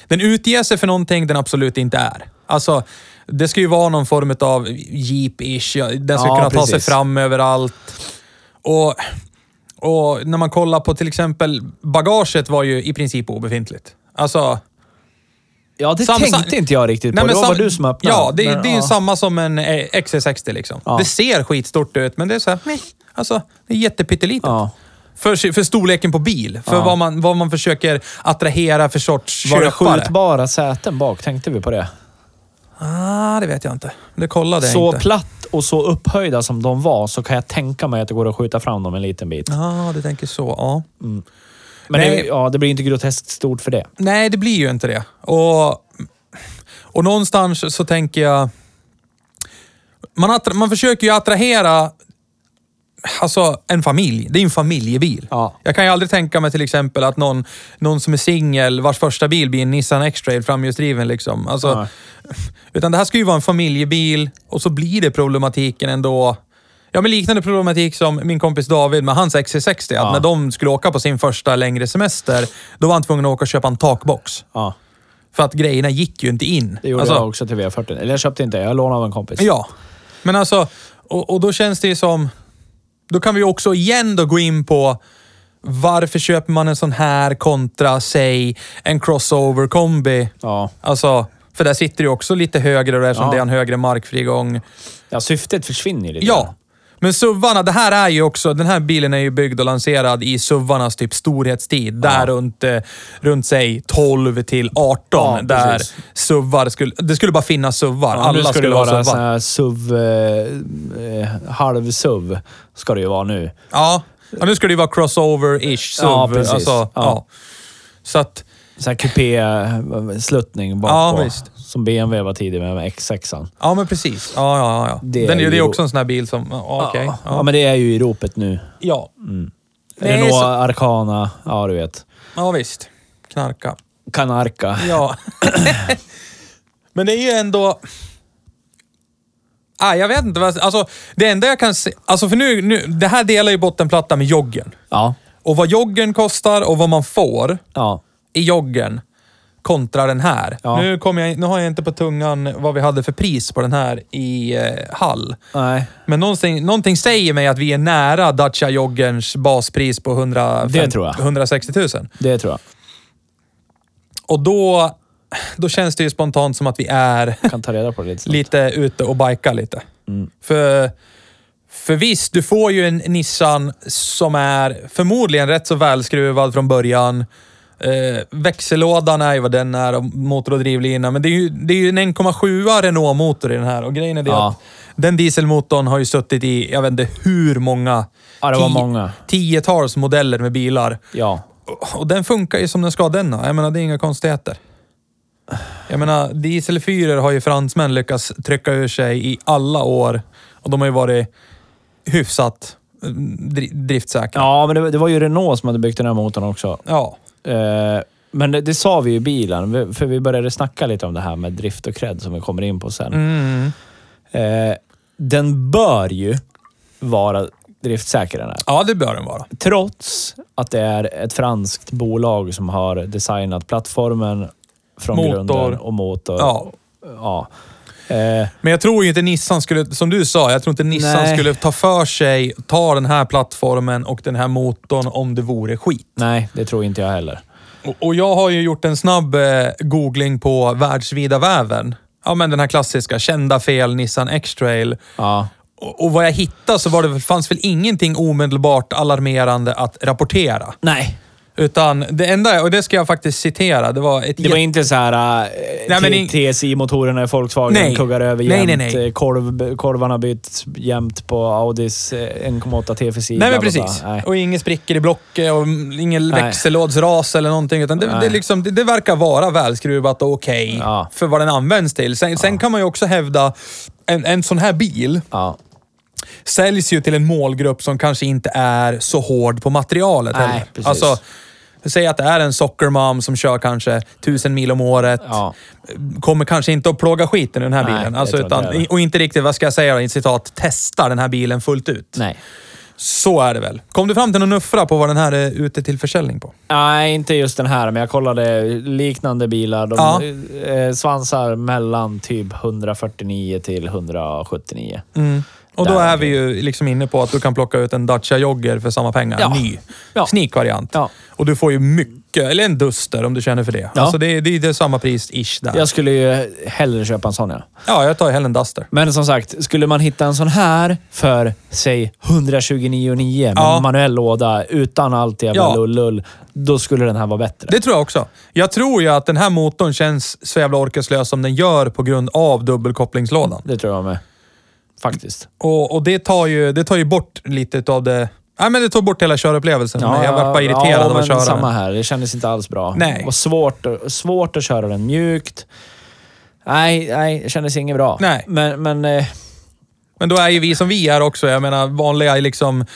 [SPEAKER 1] den utger sig för någonting den absolut inte är. Alltså, det ska ju vara någon form av jeep-ish. ja, Den ska
[SPEAKER 2] Ja,
[SPEAKER 1] kunna ta sig
[SPEAKER 2] precis.
[SPEAKER 1] fram överallt. Och, och när man kollar på till exempel bagaget var ju i princip obefintligt. Alltså,
[SPEAKER 2] Ja, det
[SPEAKER 1] Sam-
[SPEAKER 2] tänkte
[SPEAKER 1] sam-
[SPEAKER 2] inte jag riktigt på. det var
[SPEAKER 1] sam-
[SPEAKER 2] bara du som öppnade.
[SPEAKER 1] Ja, det,
[SPEAKER 2] Men,
[SPEAKER 1] det är ju
[SPEAKER 2] ja.
[SPEAKER 1] samma som en eh, XC60 liksom.
[SPEAKER 2] Ja.
[SPEAKER 1] Det ser skitstort ut, men det är så här, meh. alltså, det är jättepyttelitet.
[SPEAKER 2] Ja.
[SPEAKER 1] För, för storleken på bil. För vad, man, vad man försöker attrahera för sorts
[SPEAKER 2] Var det
[SPEAKER 1] köpare.
[SPEAKER 2] skjutbara säten bak? Tänkte vi på det?
[SPEAKER 1] ah, det vet jag inte. Det kollade jag
[SPEAKER 2] så
[SPEAKER 1] inte.
[SPEAKER 2] platt och så upphöjda som de var så kan jag tänka mig att det går att skjuta fram dem en liten bit.
[SPEAKER 1] ah, du tänker så. Ja.
[SPEAKER 2] Men
[SPEAKER 1] Nej.
[SPEAKER 2] det, ja, det blir inte groteskt stort för det.
[SPEAKER 1] Nej, det blir ju inte det. Och, och någonstans så tänker jag... Man, attra, man försöker ju attrahera alltså, en familj. Det är ju en familjebil.
[SPEAKER 2] Ja.
[SPEAKER 1] Jag kan ju aldrig tänka mig till exempel att någon, någon som är singel, vars första bil blir en Nissan X-Trail framhjulsdriven. Liksom. Alltså,
[SPEAKER 2] Nej.
[SPEAKER 1] <laughs> Utan det här ska ju vara en familjebil och så blir det problematiken ändå. Ja, men liknande problematik som min kompis David med hans XC60. Att
[SPEAKER 2] Ja.
[SPEAKER 1] när de skulle åka på sin första längre semester, då var han tvungen att åka och köpa en takbox.
[SPEAKER 2] Ja,
[SPEAKER 1] För att grejerna gick ju inte in.
[SPEAKER 2] det gjorde
[SPEAKER 1] alltså,
[SPEAKER 2] jag också till V40. Eller jag köpte inte, jag lånade av en kompis.
[SPEAKER 1] Ja, men alltså, och, och då känns det ju som... Då kan vi också igen då gå in på Varför köper man en sån här kontra, säg, en crossover kombi?
[SPEAKER 2] Ja.
[SPEAKER 1] Alltså, för där sitter det ju också lite högre och eftersom
[SPEAKER 2] Ja.
[SPEAKER 1] det är en högre markfrigång.
[SPEAKER 2] ja, syftet försvinner ju lite.
[SPEAKER 1] Ja. Men SUVarna, det här är ju också, den här bilen är ju byggd och lanserad i SUVarnas typ storhetstid. Där runt, eh, runt säg 12 till 18.
[SPEAKER 2] Ja,
[SPEAKER 1] där
[SPEAKER 2] precis.
[SPEAKER 1] SUVar skulle, det skulle bara finnas SUVar.
[SPEAKER 2] Ja, nu
[SPEAKER 1] Alla
[SPEAKER 2] ska
[SPEAKER 1] skulle
[SPEAKER 2] det
[SPEAKER 1] ha SUVar.
[SPEAKER 2] vara sån här SUV... Eh, eh, Halv-SUV ska det ju vara nu.
[SPEAKER 1] Ja. ja, nu ska det ju vara crossover-ish SUV.
[SPEAKER 2] Ja, precis.
[SPEAKER 1] Alltså, ja.
[SPEAKER 2] Ja.
[SPEAKER 1] Så att,
[SPEAKER 2] Sån här kupé-sluttning bak
[SPEAKER 1] Ja,
[SPEAKER 2] på,
[SPEAKER 1] visst.
[SPEAKER 2] Som BMW var tidigare med X6an.
[SPEAKER 1] ja men precis. Ja, ja, ja.
[SPEAKER 2] Det
[SPEAKER 1] Det Den är
[SPEAKER 2] är
[SPEAKER 1] ju, det är
[SPEAKER 2] ju-
[SPEAKER 1] också en sån här bil som, ja, okej.
[SPEAKER 2] Ja.
[SPEAKER 1] Ja.
[SPEAKER 2] men det är ju i ropet nu.
[SPEAKER 1] Ja. Det är
[SPEAKER 2] Renault
[SPEAKER 1] så,
[SPEAKER 2] Arcana, ja du vet.
[SPEAKER 1] ja, visst. Knarka.
[SPEAKER 2] Canarca.
[SPEAKER 1] <coughs> Ja. Men det är ju ändå... Ah, jag vet inte. Vad, alltså, det enda jag kan se... Alltså för nu, nu, det här delar ju bottenplatta med joggen.
[SPEAKER 2] Ja.
[SPEAKER 1] Och vad joggen kostar och vad man får
[SPEAKER 2] Ja.
[SPEAKER 1] i joggen kontra den här.
[SPEAKER 2] Ja.
[SPEAKER 1] Nu, kommer jag, nu har jag inte på tungan vad vi hade för pris på den här i eh, Hall.
[SPEAKER 2] Nej.
[SPEAKER 1] Men någonting, någonting säger mig att vi är nära Dacia Joggens baspris på 150,
[SPEAKER 2] Det tror jag.
[SPEAKER 1] 160 000.
[SPEAKER 2] Det tror jag.
[SPEAKER 1] Och då, då känns det ju spontant som att vi är
[SPEAKER 2] Kan ta reda på det lite snabbt.
[SPEAKER 1] lite ute och bajka lite.
[SPEAKER 2] Mm.
[SPEAKER 1] För, för visst, du får ju en Nissan som är förmodligen rätt så välskruvad från början. Eh, växellådan är ju vad den är och motor och drivlina. Men det är ju, det är ju en 1,7 Renault-motor i den här och grejen är det
[SPEAKER 2] Ja.
[SPEAKER 1] att den dieselmotorn har ju suttit i, jag vet inte hur många,
[SPEAKER 2] Ja, det var
[SPEAKER 1] ti-
[SPEAKER 2] många.
[SPEAKER 1] tiotals modeller med bilar.
[SPEAKER 2] Ja.
[SPEAKER 1] Och- Och den funkar ju som den ska den ha. Jag menar, det är inga konstigheter. Jag menar, dieselfyror har ju fransmän lyckats trycka ur sig i alla år. Och de har ju varit hyfsat mm, dri- driftsäkra.
[SPEAKER 2] Ja, men det, det var ju Renault som hade byggt den här motorn också.
[SPEAKER 1] Ja.
[SPEAKER 2] Eh, men det, det sa vi ju i bilen, vi- för vi började snacka lite om det här med drift och cred som vi kommer in på sen.
[SPEAKER 1] Mm.
[SPEAKER 2] Eh, den bör ju vara driftsäker den här.
[SPEAKER 1] Ja, det bör den vara.
[SPEAKER 2] Trots att det är ett franskt bolag som har designat plattformen från
[SPEAKER 1] Motor.
[SPEAKER 2] grunden och motor.
[SPEAKER 1] Ja.
[SPEAKER 2] ja. Eh,
[SPEAKER 1] Men jag tror ju inte Nissan skulle, som du sa, jag tror inte Nissan
[SPEAKER 2] Nej.
[SPEAKER 1] skulle ta för sig, ta den här plattformen och den här motorn om det vore skit.
[SPEAKER 2] nej, det tror inte jag heller.
[SPEAKER 1] Och, och jag har ju gjort en snabb eh, googling på världsvida väven. Ja, men den här klassiska, kända fel Nissan X-trail.
[SPEAKER 2] Ja.
[SPEAKER 1] Och, och vad jag hittade så var det, fanns väl ingenting omedelbart alarmerande att rapportera.
[SPEAKER 2] Nej.
[SPEAKER 1] Utan det enda, och det ska jag faktiskt citera, det var ett...
[SPEAKER 2] Det var inte så här
[SPEAKER 1] Nej, men
[SPEAKER 2] eh,
[SPEAKER 1] in-
[SPEAKER 2] T- TSI-motorerna i Volkswagen
[SPEAKER 1] Nej.
[SPEAKER 2] kuggar över
[SPEAKER 1] Nej,
[SPEAKER 2] jämt.
[SPEAKER 1] nej, nej.
[SPEAKER 2] eh, Korv, korvarna byts jämt på Audis eh, 1,8 TFSI.
[SPEAKER 1] Nej, men
[SPEAKER 2] bla, bla, bla.
[SPEAKER 1] precis.
[SPEAKER 2] Nej.
[SPEAKER 1] Och ingen sprickor i blocket och mm, ingen
[SPEAKER 2] Nej.
[SPEAKER 1] växellådsras eller någonting. Utan det, det, är
[SPEAKER 2] Nej.
[SPEAKER 1] liksom, det, det verkar vara välskruvat och okej
[SPEAKER 2] Ja.
[SPEAKER 1] för vad den används till. Sen, sen kan man ju också hävda, en, en sån här bil
[SPEAKER 2] Ja.
[SPEAKER 1] säljs ju till en målgrupp som kanske inte är så hård på materialet
[SPEAKER 2] Nej,
[SPEAKER 1] heller.
[SPEAKER 2] precis.
[SPEAKER 1] Alltså, säg att det är en sockermom som kör kanske tusen mil om året.
[SPEAKER 2] Ja.
[SPEAKER 1] Kommer kanske inte att plåga skiten i den här
[SPEAKER 2] Nej,
[SPEAKER 1] bilen.
[SPEAKER 2] det
[SPEAKER 1] Alltså,
[SPEAKER 2] tror jag inte
[SPEAKER 1] utan,
[SPEAKER 2] heller.
[SPEAKER 1] och inte riktigt, vad ska jag säga då, i citat, testa den här bilen fullt ut.
[SPEAKER 2] Nej.
[SPEAKER 1] Så är det väl. Kom du fram till någon nuffra på vad den här är ute till försäljning på?
[SPEAKER 2] Nej, inte just den här, men jag kollade liknande bilar. De
[SPEAKER 1] Ja.
[SPEAKER 2] eh, svansar mellan typ 149 till 179.
[SPEAKER 1] Mm. Och då
[SPEAKER 2] Där
[SPEAKER 1] är vi
[SPEAKER 2] omkring.
[SPEAKER 1] ju liksom inne på att du kan plocka ut en Dacia Jogger för samma pengar.
[SPEAKER 2] Ja.
[SPEAKER 1] Ny.
[SPEAKER 2] Ja.
[SPEAKER 1] Sneak-variant.
[SPEAKER 2] Ja.
[SPEAKER 1] Och du får ju mycket, eller en Duster om du känner för det.
[SPEAKER 2] Ja.
[SPEAKER 1] Alltså det, är- det är det är samma pris-ish där.
[SPEAKER 2] Jag skulle ju hellre köpa en sån, ja.
[SPEAKER 1] Ja, jag tar ju hellre en Duster.
[SPEAKER 2] Men som sagt, skulle man hitta en sån här för, säg, 129,9 med
[SPEAKER 1] Ja.
[SPEAKER 2] manuell låda utan allt jävla
[SPEAKER 1] Ja.
[SPEAKER 2] lullull, då skulle den här vara bättre.
[SPEAKER 1] Det tror jag också. Jag tror ju att den här motorn känns så jävla orkeslös som den gör på grund av dubbelkopplingslådan.
[SPEAKER 2] Det tror jag med. Faktiskt.
[SPEAKER 1] Och, och det, tar ju, det tar ju bort lite av det... Nej, men det tog bort hela körupplevelsen. Ja, jag vart bara irriterad
[SPEAKER 2] ja,
[SPEAKER 1] av
[SPEAKER 2] men
[SPEAKER 1] att köra
[SPEAKER 2] Samma
[SPEAKER 1] den.
[SPEAKER 2] här. Det kändes inte alls bra.
[SPEAKER 1] Nej.
[SPEAKER 2] Det var svårt, svårt att köra den mjukt. Nej, nej, det kändes inget bra.
[SPEAKER 1] Nej.
[SPEAKER 2] Men, men eh,
[SPEAKER 1] Men då är ju vi som vi är också. Jag menar, vanliga är liksom... eh,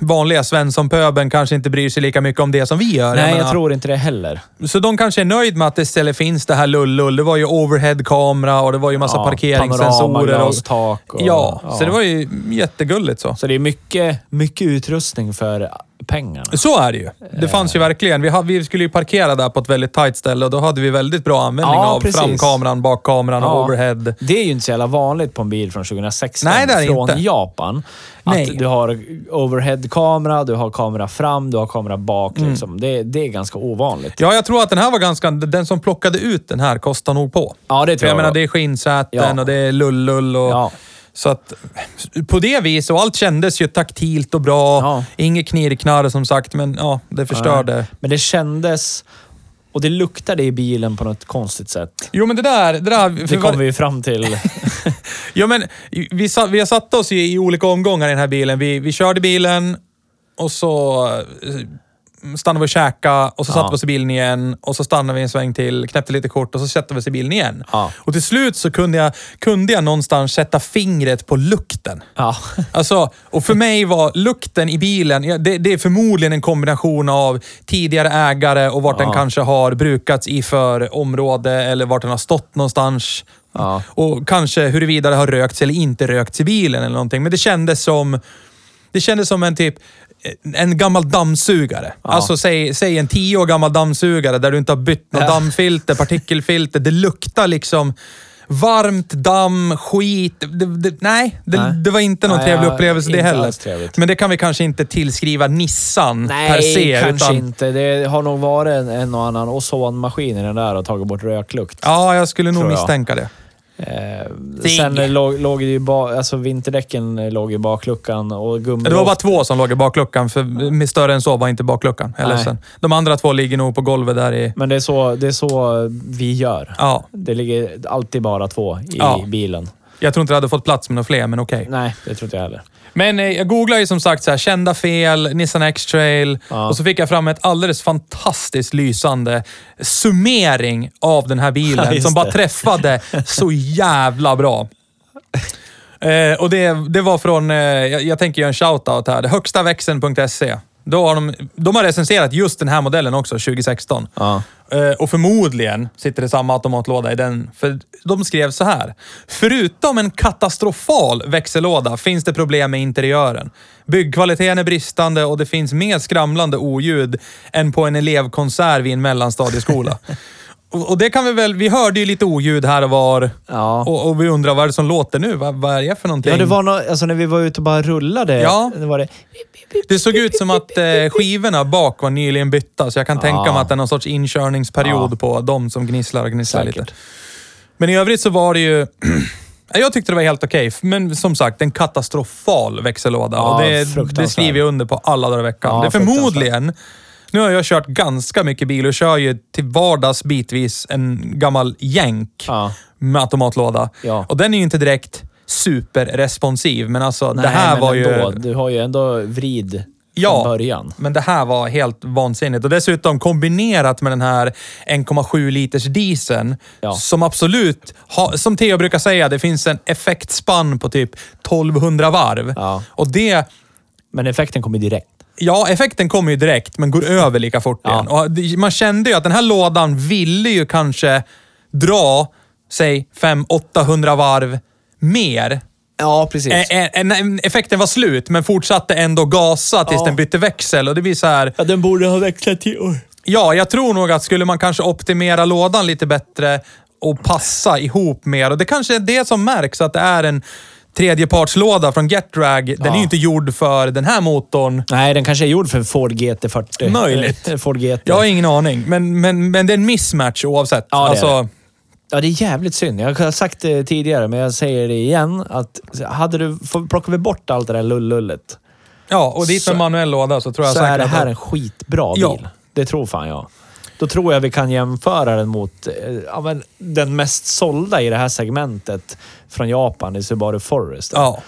[SPEAKER 1] Vanliga Svensson-pöben kanske inte bryr sig lika mycket om det som vi gör.
[SPEAKER 2] nej,
[SPEAKER 1] menar,
[SPEAKER 2] jag tror inte det heller.
[SPEAKER 1] Så de kanske är nöjd med att det istället finns det här lullull. Det var ju overhead-kamera och det var ju massa parkeringssensorer. Och,
[SPEAKER 2] Panoramaglas, tak och,
[SPEAKER 1] ja, så det var ju jättegulligt så.
[SPEAKER 2] Så det är mycket, mycket utrustning för pengarna.
[SPEAKER 1] Så är det ju.
[SPEAKER 2] Eh.
[SPEAKER 1] Det fanns ju verkligen. Vi, hade, vi skulle ju parkera där på ett väldigt tight ställe och då hade vi väldigt bra användning
[SPEAKER 2] Ja,
[SPEAKER 1] av
[SPEAKER 2] precis.
[SPEAKER 1] framkameran, bakkameran och
[SPEAKER 2] Ja.
[SPEAKER 1] overhead.
[SPEAKER 2] Det är ju inte så jävla vanligt på en bil från 2016
[SPEAKER 1] Nej, det är det
[SPEAKER 2] från
[SPEAKER 1] inte.
[SPEAKER 2] Japan. Att
[SPEAKER 1] Nej.
[SPEAKER 2] du har overhead-kamera, du har kamera fram, du har kamera bak.
[SPEAKER 1] Mm.
[SPEAKER 2] Liksom. Det, det är ganska ovanligt.
[SPEAKER 1] Ja, jag tror att den här var ganska... Den som plockade ut den här kostade nog på.
[SPEAKER 2] Ja, det
[SPEAKER 1] För
[SPEAKER 2] tror
[SPEAKER 1] jag
[SPEAKER 2] jag.
[SPEAKER 1] menar, det är skinnsäten
[SPEAKER 2] Ja.
[SPEAKER 1] och det är lullull och...
[SPEAKER 2] Ja.
[SPEAKER 1] Så att på det viset, och allt kändes ju taktilt och bra.
[SPEAKER 2] Ja.
[SPEAKER 1] Inget knirknarr som sagt, men ja, det förstörde.
[SPEAKER 2] Men det kändes... Och det luktade i bilen på något konstigt sätt.
[SPEAKER 1] Jo, men det där... Det, där,
[SPEAKER 2] Det
[SPEAKER 1] för
[SPEAKER 2] kom
[SPEAKER 1] var,
[SPEAKER 2] vi ju fram <laughs> till.
[SPEAKER 1] <laughs> ja, men, vi, sa, vi har satt oss i, i olika omgångar i den här bilen. Vi, vi körde bilen och så eh, stannade vi och käkade och så
[SPEAKER 2] Ja.
[SPEAKER 1] satte vi oss i bilen igen och så stannade vi en sväng till, knäppte lite kort och så satte vi oss i bilen igen.
[SPEAKER 2] Ja.
[SPEAKER 1] Och till slut så kunde jag, kunde jag någonstans sätta fingret på lukten.
[SPEAKER 2] Ja.
[SPEAKER 1] <laughs> Alltså, och för mig var lukten i bilen, ja, det, det är förmodligen en kombination av tidigare ägare och vart den
[SPEAKER 2] Ja.
[SPEAKER 1] kanske har brukats i för område eller vart den har stått någonstans.
[SPEAKER 2] Ja.
[SPEAKER 1] Och kanske huruvida det har rökts eller inte rökts i bilen eller någonting. Men det kändes som, det kändes som en typ en gammal dammsugare. Alltså säg, säg en tio år gammal dammsugare där du inte har bytt något
[SPEAKER 2] Ja.
[SPEAKER 1] dammfilter, partikelfilter. Det luktar liksom varmt damm, skit. Det, det, nej, det,
[SPEAKER 2] Nej.
[SPEAKER 1] det var inte någon
[SPEAKER 2] Nej,
[SPEAKER 1] trevlig
[SPEAKER 2] ja,
[SPEAKER 1] upplevelse det
[SPEAKER 2] inte
[SPEAKER 1] heller.
[SPEAKER 2] alls trevligt.
[SPEAKER 1] Men det kan vi kanske inte tillskriva Nissan per se.
[SPEAKER 2] kanske
[SPEAKER 1] utan,
[SPEAKER 2] inte. Det har nog varit en, en och annan ozonmaskin i den där och tagit bort röklukt.
[SPEAKER 1] Ja, jag skulle nog
[SPEAKER 2] Tror jag.
[SPEAKER 1] misstänka det.
[SPEAKER 2] Eh,
[SPEAKER 1] Ding.
[SPEAKER 2] sen eh, låg, låg det ju ba, alltså vinterdäcken eh, låg i bakluckan och gummi...
[SPEAKER 1] Det var bara två som låg i bakluckan, för med större än så var inte bakluckan. Jag är
[SPEAKER 2] Nej.
[SPEAKER 1] ledsen. De andra två ligger nog på golvet där i...
[SPEAKER 2] Men det är, så, det är så vi gör.
[SPEAKER 1] Ja,
[SPEAKER 2] Det ligger alltid bara två i
[SPEAKER 1] Ja.
[SPEAKER 2] bilen.
[SPEAKER 1] jag tror inte det hade fått plats med några fler, men okej.
[SPEAKER 2] Nej, det tror inte jag heller.
[SPEAKER 1] Men eh, jag googlade ju som sagt så här, kända fel, Nissan X-trail
[SPEAKER 2] Ja.
[SPEAKER 1] och så fick jag fram ett alldeles fantastiskt lysande summering av den här
[SPEAKER 2] <laughs> Ja,
[SPEAKER 1] bilen
[SPEAKER 2] just
[SPEAKER 1] som bara
[SPEAKER 2] det.
[SPEAKER 1] träffade så jävla
[SPEAKER 2] <laughs>
[SPEAKER 1] bra. Eh, och det, det var från, eh, jag, jag tänker göra en shoutout här, högstaväxeln.se. E. Då har de, de har recenserat just den här modellen också, 2016.
[SPEAKER 2] Ja.
[SPEAKER 1] Eh, Och förmodligen sitter det samma automatlåda i den. För de skrev så här. Förutom en katastrofal växellåda finns det problem med interiören. Byggkvaliteten är bristande och det finns mer skramlande oljud än på en elevkonsert vid en
[SPEAKER 2] <laughs>
[SPEAKER 1] mellanstadieskola. och, och det kan vi väl... Vi hörde ju lite oljud här och var.
[SPEAKER 2] Ja.
[SPEAKER 1] Och, och vi undrar vad är det som låter nu? Vad, vad är det för någonting?
[SPEAKER 2] Ja, det var nå alltså när vi var ute och bara rullade.
[SPEAKER 1] Ja.
[SPEAKER 2] Det var det.
[SPEAKER 1] Det såg ut som att eh, skivorna bak var nyligen bytta, så jag kan tänka mig att det är någon sorts inkörningsperiod
[SPEAKER 2] Ja.
[SPEAKER 1] på de som gnisslar och gnisslar
[SPEAKER 2] Säkert.
[SPEAKER 1] lite. Men i övrigt så var det ju... <clears throat> Ja, jag tyckte det var helt okej, men som sagt, en katastrofal växellåda.
[SPEAKER 2] Ja,
[SPEAKER 1] och det, det
[SPEAKER 2] fruktansvärt. skriver
[SPEAKER 1] skriver jag under på alla dagar i veckan.
[SPEAKER 2] Ja,
[SPEAKER 1] det är förmodligen... Nu har jag kört ganska mycket bil och kör ju till vardags bitvis en gammal jänk
[SPEAKER 2] Ja.
[SPEAKER 1] med automatlåda.
[SPEAKER 2] Ja.
[SPEAKER 1] Och den är ju inte direkt superresponsiv, men alltså
[SPEAKER 2] Nej,
[SPEAKER 1] det här
[SPEAKER 2] men
[SPEAKER 1] var
[SPEAKER 2] ändå,
[SPEAKER 1] ju...
[SPEAKER 2] Du har ju ändå vrid
[SPEAKER 1] Ja.
[SPEAKER 2] från början.
[SPEAKER 1] Men det här var helt vansinnigt. Och dessutom kombinerat med den här 1,7 liters dieseln
[SPEAKER 2] Ja.
[SPEAKER 1] som absolut, ha, som Theo brukar säga, det finns en effektspann på typ 1200 varv.
[SPEAKER 2] Ja.
[SPEAKER 1] Och det,
[SPEAKER 2] Men effekten kommer direkt.
[SPEAKER 1] ja effekten kommer ju direkt men går över lika fort
[SPEAKER 2] Ja.
[SPEAKER 1] igen. Och det- man kände ju att den här lådan ville ju kanske dra, säg 500-800 varv mer
[SPEAKER 2] Ja, precis.
[SPEAKER 1] Ä- ä- ä- effekten var slut, men fortsatte ändå gasa tills
[SPEAKER 2] Ja.
[SPEAKER 1] den bytte växel. Och det blir så här,
[SPEAKER 2] ja, eh, den borde ha växlat till... Oj.
[SPEAKER 1] Ja, jag tror nog att skulle man kanske optimera lådan lite bättre och passa ihop mer. Och det kanske är det som märks, att det är en tredjepartslåda från Getrag. Den är ju inte gjord för den här motorn.
[SPEAKER 2] Nej, den kanske är gjord för Ford GT40.
[SPEAKER 1] Möjligt.
[SPEAKER 2] Eh, Ford GT.
[SPEAKER 1] Jag har ingen aning, men, men, men det är en mismatch oavsett.
[SPEAKER 2] Ja, det är
[SPEAKER 1] alltså,
[SPEAKER 2] Ja, det är jävligt synd. Jag har sagt det tidigare, men jag säger det igen. Att hade du, får- plockar vi bort allt det där lullullet
[SPEAKER 1] ja, och dit med
[SPEAKER 2] Så-
[SPEAKER 1] manuell låda så tror jag
[SPEAKER 2] så
[SPEAKER 1] säkert
[SPEAKER 2] är det
[SPEAKER 1] att
[SPEAKER 2] här en skitbra bil.
[SPEAKER 1] Ja.
[SPEAKER 2] Det tror fan jag. Då tror jag vi kan jämföra den mot eh, ja, men den mest sålda i det här segmentet från Japan, i Subaru Forester.
[SPEAKER 1] Ja.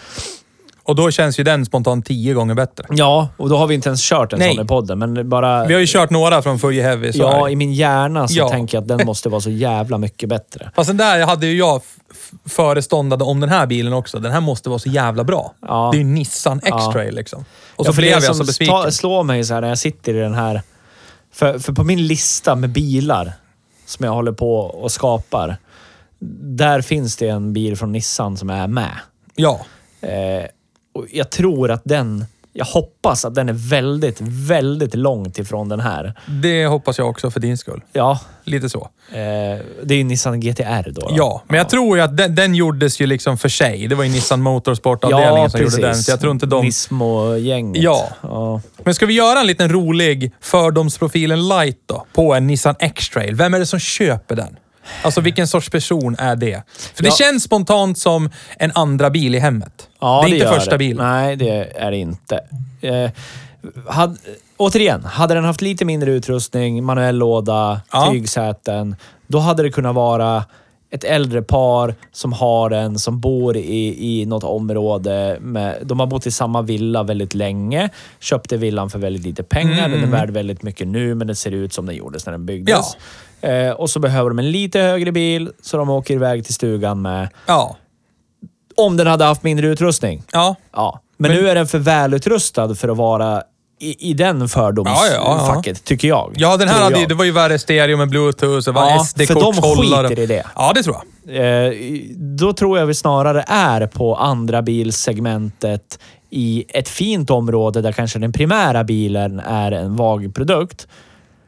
[SPEAKER 1] Och då känns ju den spontant tio gånger bättre.
[SPEAKER 2] Ja, och då har vi inte ens kört en
[SPEAKER 1] Nej.
[SPEAKER 2] sån i podden, men bara...
[SPEAKER 1] Vi har ju kört några från Fuji Heavy. Så är det.
[SPEAKER 2] Ja, i min hjärna så
[SPEAKER 1] Ja.
[SPEAKER 2] tänker jag
[SPEAKER 1] <laughs>
[SPEAKER 2] att den måste vara så jävla mycket bättre.
[SPEAKER 1] Fast den där hade ju jag f- f- föreståndade om den här bilen också. Den här måste vara så jävla bra.
[SPEAKER 2] Ja.
[SPEAKER 1] Det är ju Nissan X-Trail liksom. Och så
[SPEAKER 2] Ja, för
[SPEAKER 1] blev
[SPEAKER 2] det
[SPEAKER 1] jag
[SPEAKER 2] som
[SPEAKER 1] så besviken.
[SPEAKER 2] sta- slår mig så här när jag sitter i den här... För, för på min lista med bilar som jag håller på och skapar, där finns det en bil från Nissan som är med.
[SPEAKER 1] Ja.
[SPEAKER 2] Eh, och jag tror att den Jag hoppas att den är väldigt, väldigt långt ifrån den här.
[SPEAKER 1] Det hoppas jag också för din skull.
[SPEAKER 2] Ja,
[SPEAKER 1] Lite så.
[SPEAKER 2] eh, det är ju Nissan GTR då. då.
[SPEAKER 1] Ja, men jag tror ju att den, den gjordes ju liksom för sig. Det var ju Nissan Motorsport-avdelningen
[SPEAKER 2] Ja,
[SPEAKER 1] som
[SPEAKER 2] precis.
[SPEAKER 1] gjorde den. Så jag tror inte de...
[SPEAKER 2] Nismo-gänget.
[SPEAKER 1] Ja.
[SPEAKER 2] ja.
[SPEAKER 1] Men ska vi göra en liten rolig fördomsprofilen light då? På en Nissan X-trail. Vem är det som köper den? Alltså vilken sorts person är det? För det
[SPEAKER 2] Ja.
[SPEAKER 1] känns spontant som en andra bil i hemmet.
[SPEAKER 2] Ja,
[SPEAKER 1] det är inte
[SPEAKER 2] gör
[SPEAKER 1] första
[SPEAKER 2] det.
[SPEAKER 1] bilen.
[SPEAKER 2] Nej, det är det inte. Eh, had, återigen, hade den haft lite mindre utrustning, manuell låda,
[SPEAKER 1] Ja.
[SPEAKER 2] tygsäten, då hade det kunnat vara ett äldre par som har den, som bor i, i något område. Med, de har bott i samma villa väldigt länge, köpte villan för väldigt lite pengar.
[SPEAKER 1] Mm.
[SPEAKER 2] Den är värd väldigt mycket nu, men det ser ut som den gjordes när den byggdes. Eh, och så behöver de en lite högre bil, så de åker iväg till stugan med.
[SPEAKER 1] Ja.
[SPEAKER 2] Om den hade haft mindre utrustning.
[SPEAKER 1] Ja.
[SPEAKER 2] Ja, men, nu är den för välutrustad för att vara i, i den
[SPEAKER 1] Ja, ja, ja.
[SPEAKER 2] fördomsfacket, tycker jag.
[SPEAKER 1] Ja, den här
[SPEAKER 2] Tror
[SPEAKER 1] hade, ju-
[SPEAKER 2] jag.
[SPEAKER 1] det var ju värre stereo med bluetooth och var
[SPEAKER 2] Ja,
[SPEAKER 1] SD-kortshållare.
[SPEAKER 2] för de skiter i det.
[SPEAKER 1] Ja, det tror jag.
[SPEAKER 2] Eh, Då tror jag vi snarare är på andra bilsegmentet i ett fint område där kanske den primära bilen är en vag produkt.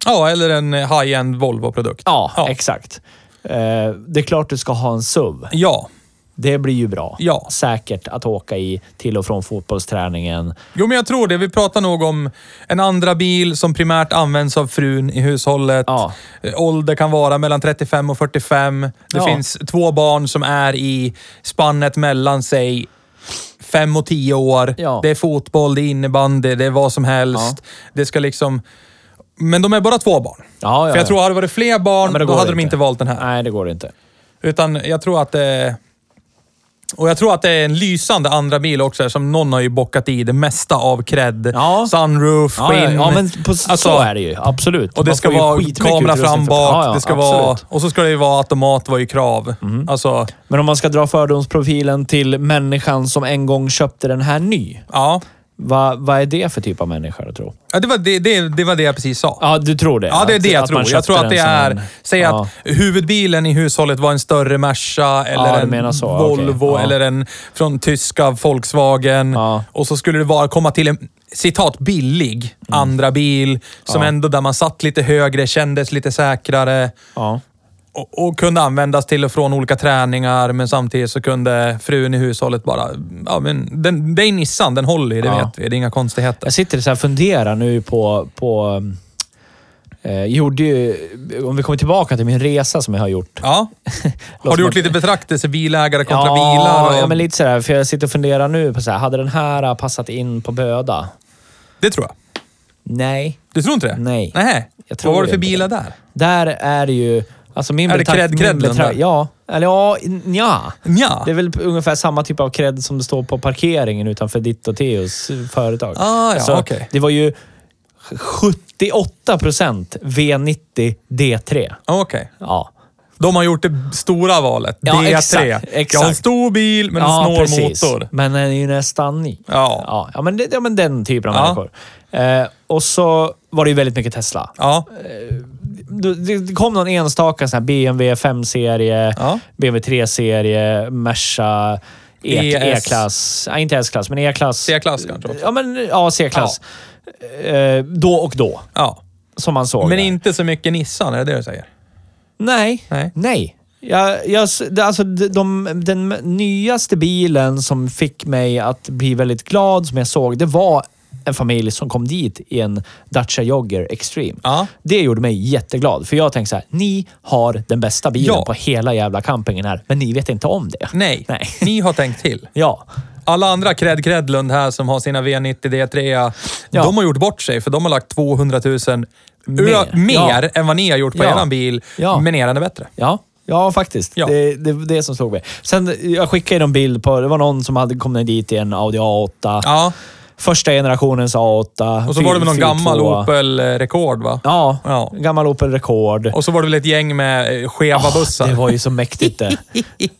[SPEAKER 1] Ja, eller en eh, high-end Volvo-produkt.
[SPEAKER 2] Ja,
[SPEAKER 1] ja.
[SPEAKER 2] exakt. Eh, Det är klart du ska ha en SUV.
[SPEAKER 1] Ja.
[SPEAKER 2] Det blir ju bra.
[SPEAKER 1] Ja.
[SPEAKER 2] Säkert att åka i till och från fotbollsträningen.
[SPEAKER 1] Jo, men jag tror det. Vi pratar nog om en andra bil som primärt används av frun i hushållet.
[SPEAKER 2] Ja.
[SPEAKER 1] Eh, Ålder kan vara mellan 35 och 45. Det
[SPEAKER 2] Ja.
[SPEAKER 1] finns två barn som är i spannet mellan sig 5 och 10 år.
[SPEAKER 2] Ja.
[SPEAKER 1] Det är fotboll, det är innebandy, det är vad som helst. Det ska liksom... Men de är bara två barn.
[SPEAKER 2] Ja, ja,
[SPEAKER 1] För jag
[SPEAKER 2] ja.
[SPEAKER 1] tror hade det varit fler barn,
[SPEAKER 2] Ja, men det
[SPEAKER 1] då
[SPEAKER 2] går
[SPEAKER 1] hade de
[SPEAKER 2] inte.
[SPEAKER 1] inte valt den här.
[SPEAKER 2] Nej, det går inte.
[SPEAKER 1] Utan jag tror att det... Och jag tror att det är en lysande andra bil också som någon har ju bockat i det mesta av cred.
[SPEAKER 2] Ja.
[SPEAKER 1] Sunroof,
[SPEAKER 2] Ja,
[SPEAKER 1] skinn.
[SPEAKER 2] ja, ja men på, s-
[SPEAKER 1] Alltså,
[SPEAKER 2] så är det ju. Absolut.
[SPEAKER 1] Och det
[SPEAKER 2] Man
[SPEAKER 1] ska
[SPEAKER 2] får ju
[SPEAKER 1] vara
[SPEAKER 2] skitmycket
[SPEAKER 1] kamera
[SPEAKER 2] utrustning
[SPEAKER 1] fram
[SPEAKER 2] för-
[SPEAKER 1] bak.
[SPEAKER 2] Ja, ja,
[SPEAKER 1] det ska
[SPEAKER 2] absolut. Mm.
[SPEAKER 1] vara, och så ska det ju vara automat, var ju krav. Alltså,
[SPEAKER 2] Men om man ska dra fördomsprofilen till människan som en gång köpte den här ny.
[SPEAKER 1] ja.
[SPEAKER 2] Vad vad är det för typ av människa du tror?
[SPEAKER 1] ja det, var, det, det, det var det jag precis sa.
[SPEAKER 2] Ja, du tror det?
[SPEAKER 1] Ja, det är
[SPEAKER 2] Att-
[SPEAKER 1] det jag
[SPEAKER 2] att man
[SPEAKER 1] tror. Jag
[SPEAKER 2] köpte
[SPEAKER 1] tror att
[SPEAKER 2] den
[SPEAKER 1] det
[SPEAKER 2] som
[SPEAKER 1] är...
[SPEAKER 2] en-
[SPEAKER 1] Säg
[SPEAKER 2] ja.
[SPEAKER 1] att huvudbilen i hushållet var en större Merca
[SPEAKER 2] Ja,
[SPEAKER 1] eller
[SPEAKER 2] du
[SPEAKER 1] en
[SPEAKER 2] menar så. Okej.
[SPEAKER 1] Volvo
[SPEAKER 2] Ja.
[SPEAKER 1] eller en från tyska Volkswagen.
[SPEAKER 2] Ja.
[SPEAKER 1] Och så skulle det vara, komma till en citat billig
[SPEAKER 2] Mm.
[SPEAKER 1] andra bil som ändå där man satt lite högre, kändes lite säkrare
[SPEAKER 2] Ja.
[SPEAKER 1] och, och kunde användas till och från olika träningar. Men samtidigt så kunde frun i hushållet bara... Ja, men den, det är Nissan, den håller ju, det
[SPEAKER 2] Ja.
[SPEAKER 1] vet vi. Det är inga konstigheter.
[SPEAKER 2] Jag sitter så här och funderar nu på... på um, eh, jag gjorde ju, om vi kommer tillbaka till min resa som jag har gjort. <laughs>
[SPEAKER 1] Ja. Har
[SPEAKER 2] som
[SPEAKER 1] du gjort
[SPEAKER 2] att-
[SPEAKER 1] lite betraktelser, bilägare kontra bilar? och-
[SPEAKER 2] Ja, men lite sådär. För jag sitter och funderar nu på så här, hade den här eh, passat in på Böda?
[SPEAKER 1] Det tror jag.
[SPEAKER 2] Nej.
[SPEAKER 1] Du tror inte det?
[SPEAKER 2] Nej.
[SPEAKER 1] Nej.
[SPEAKER 2] Jag tror
[SPEAKER 1] Vad var det för
[SPEAKER 2] inte
[SPEAKER 1] bilar
[SPEAKER 2] det.
[SPEAKER 1] där?
[SPEAKER 2] Där är det ju... Alltså min
[SPEAKER 1] Är det
[SPEAKER 2] betrakt-
[SPEAKER 1] cred-
[SPEAKER 2] min
[SPEAKER 1] credden
[SPEAKER 2] betrakt-
[SPEAKER 1] där?
[SPEAKER 2] Ja. Eller ja, nja.
[SPEAKER 1] Nja.
[SPEAKER 2] Det är väl ungefär samma typ av cred som det står på parkeringen utanför ditt och Teos företag.
[SPEAKER 1] Ah, ja, okej.
[SPEAKER 2] Det var ju 78 procent V90 D3.
[SPEAKER 1] Okej.
[SPEAKER 2] Ja.
[SPEAKER 1] De har gjort det stora valet.
[SPEAKER 2] Ja,
[SPEAKER 1] D3.
[SPEAKER 2] exakt,
[SPEAKER 1] Jag har en
[SPEAKER 2] exakt.
[SPEAKER 1] stor bil, men en
[SPEAKER 2] ja,
[SPEAKER 1] snål motor.
[SPEAKER 2] Men den är ju nästan ny.
[SPEAKER 1] Ja.
[SPEAKER 2] Ja, ja, men, det, ja men den typen av
[SPEAKER 1] Ja.
[SPEAKER 2] människor. Eh, och så var det ju väldigt mycket Tesla.
[SPEAKER 1] Ja.
[SPEAKER 2] Det- Det det kom någon enstaka sån här BMW 5-serie,
[SPEAKER 1] Ja.
[SPEAKER 2] BMW 3-serie, Merca, E-
[SPEAKER 1] ES.
[SPEAKER 2] E-klass. Nej, inte S-klass, men E-klass.
[SPEAKER 1] C-klass kanske också.
[SPEAKER 2] Ja, men ja, C-klass. Eh, då och då,
[SPEAKER 1] Ja.
[SPEAKER 2] som man såg.
[SPEAKER 1] Men
[SPEAKER 2] där.
[SPEAKER 1] inte så mycket Nissan, är det det du säger?
[SPEAKER 2] Nej.
[SPEAKER 1] Nej.
[SPEAKER 2] Nej. Jag, jag, s- det- alltså, de, de, den nyaste bilen som fick mig att bli väldigt glad, som jag såg, det var en familj som kom dit i en Dacia Jogger Extreme.
[SPEAKER 1] Ja.
[SPEAKER 2] Det gjorde mig jätteglad, för jag tänkte så här, ni har den bästa bilen
[SPEAKER 1] Ja.
[SPEAKER 2] på hela jävla campingen här, men ni vet inte om det.
[SPEAKER 1] Nej.
[SPEAKER 2] <laughs> Nej.
[SPEAKER 1] Ni har tänkt till.
[SPEAKER 2] Ja.
[SPEAKER 1] Alla andra cred Credlund här som har sina V90 D3,
[SPEAKER 2] Ja.
[SPEAKER 1] de har gjort bort sig för de har lagt 200 000
[SPEAKER 2] Mer.
[SPEAKER 1] ö- mer
[SPEAKER 2] Ja.
[SPEAKER 1] än vad ni har gjort på
[SPEAKER 2] Ja.
[SPEAKER 1] er bil,
[SPEAKER 2] Ja.
[SPEAKER 1] men eran är bättre.
[SPEAKER 2] Ja, ja faktiskt.
[SPEAKER 1] Ja.
[SPEAKER 2] Det, det det som slog mig. Sen, jag skickade ju någon bild på... Det var någon som hade kommit dit i en Audi A8.
[SPEAKER 1] Ja.
[SPEAKER 2] Första generationens A8.
[SPEAKER 1] Och så var det väl någon
[SPEAKER 2] fyr-
[SPEAKER 1] gammal
[SPEAKER 2] fyrtvåa.
[SPEAKER 1] Opel eh, Rekord, va?
[SPEAKER 2] Ja,
[SPEAKER 1] Ja.
[SPEAKER 2] gammal Opel Rekord.
[SPEAKER 1] Och så var det väl ett gäng med eh, skeva bussar.
[SPEAKER 2] Ah, Det var ju så mäktigt det.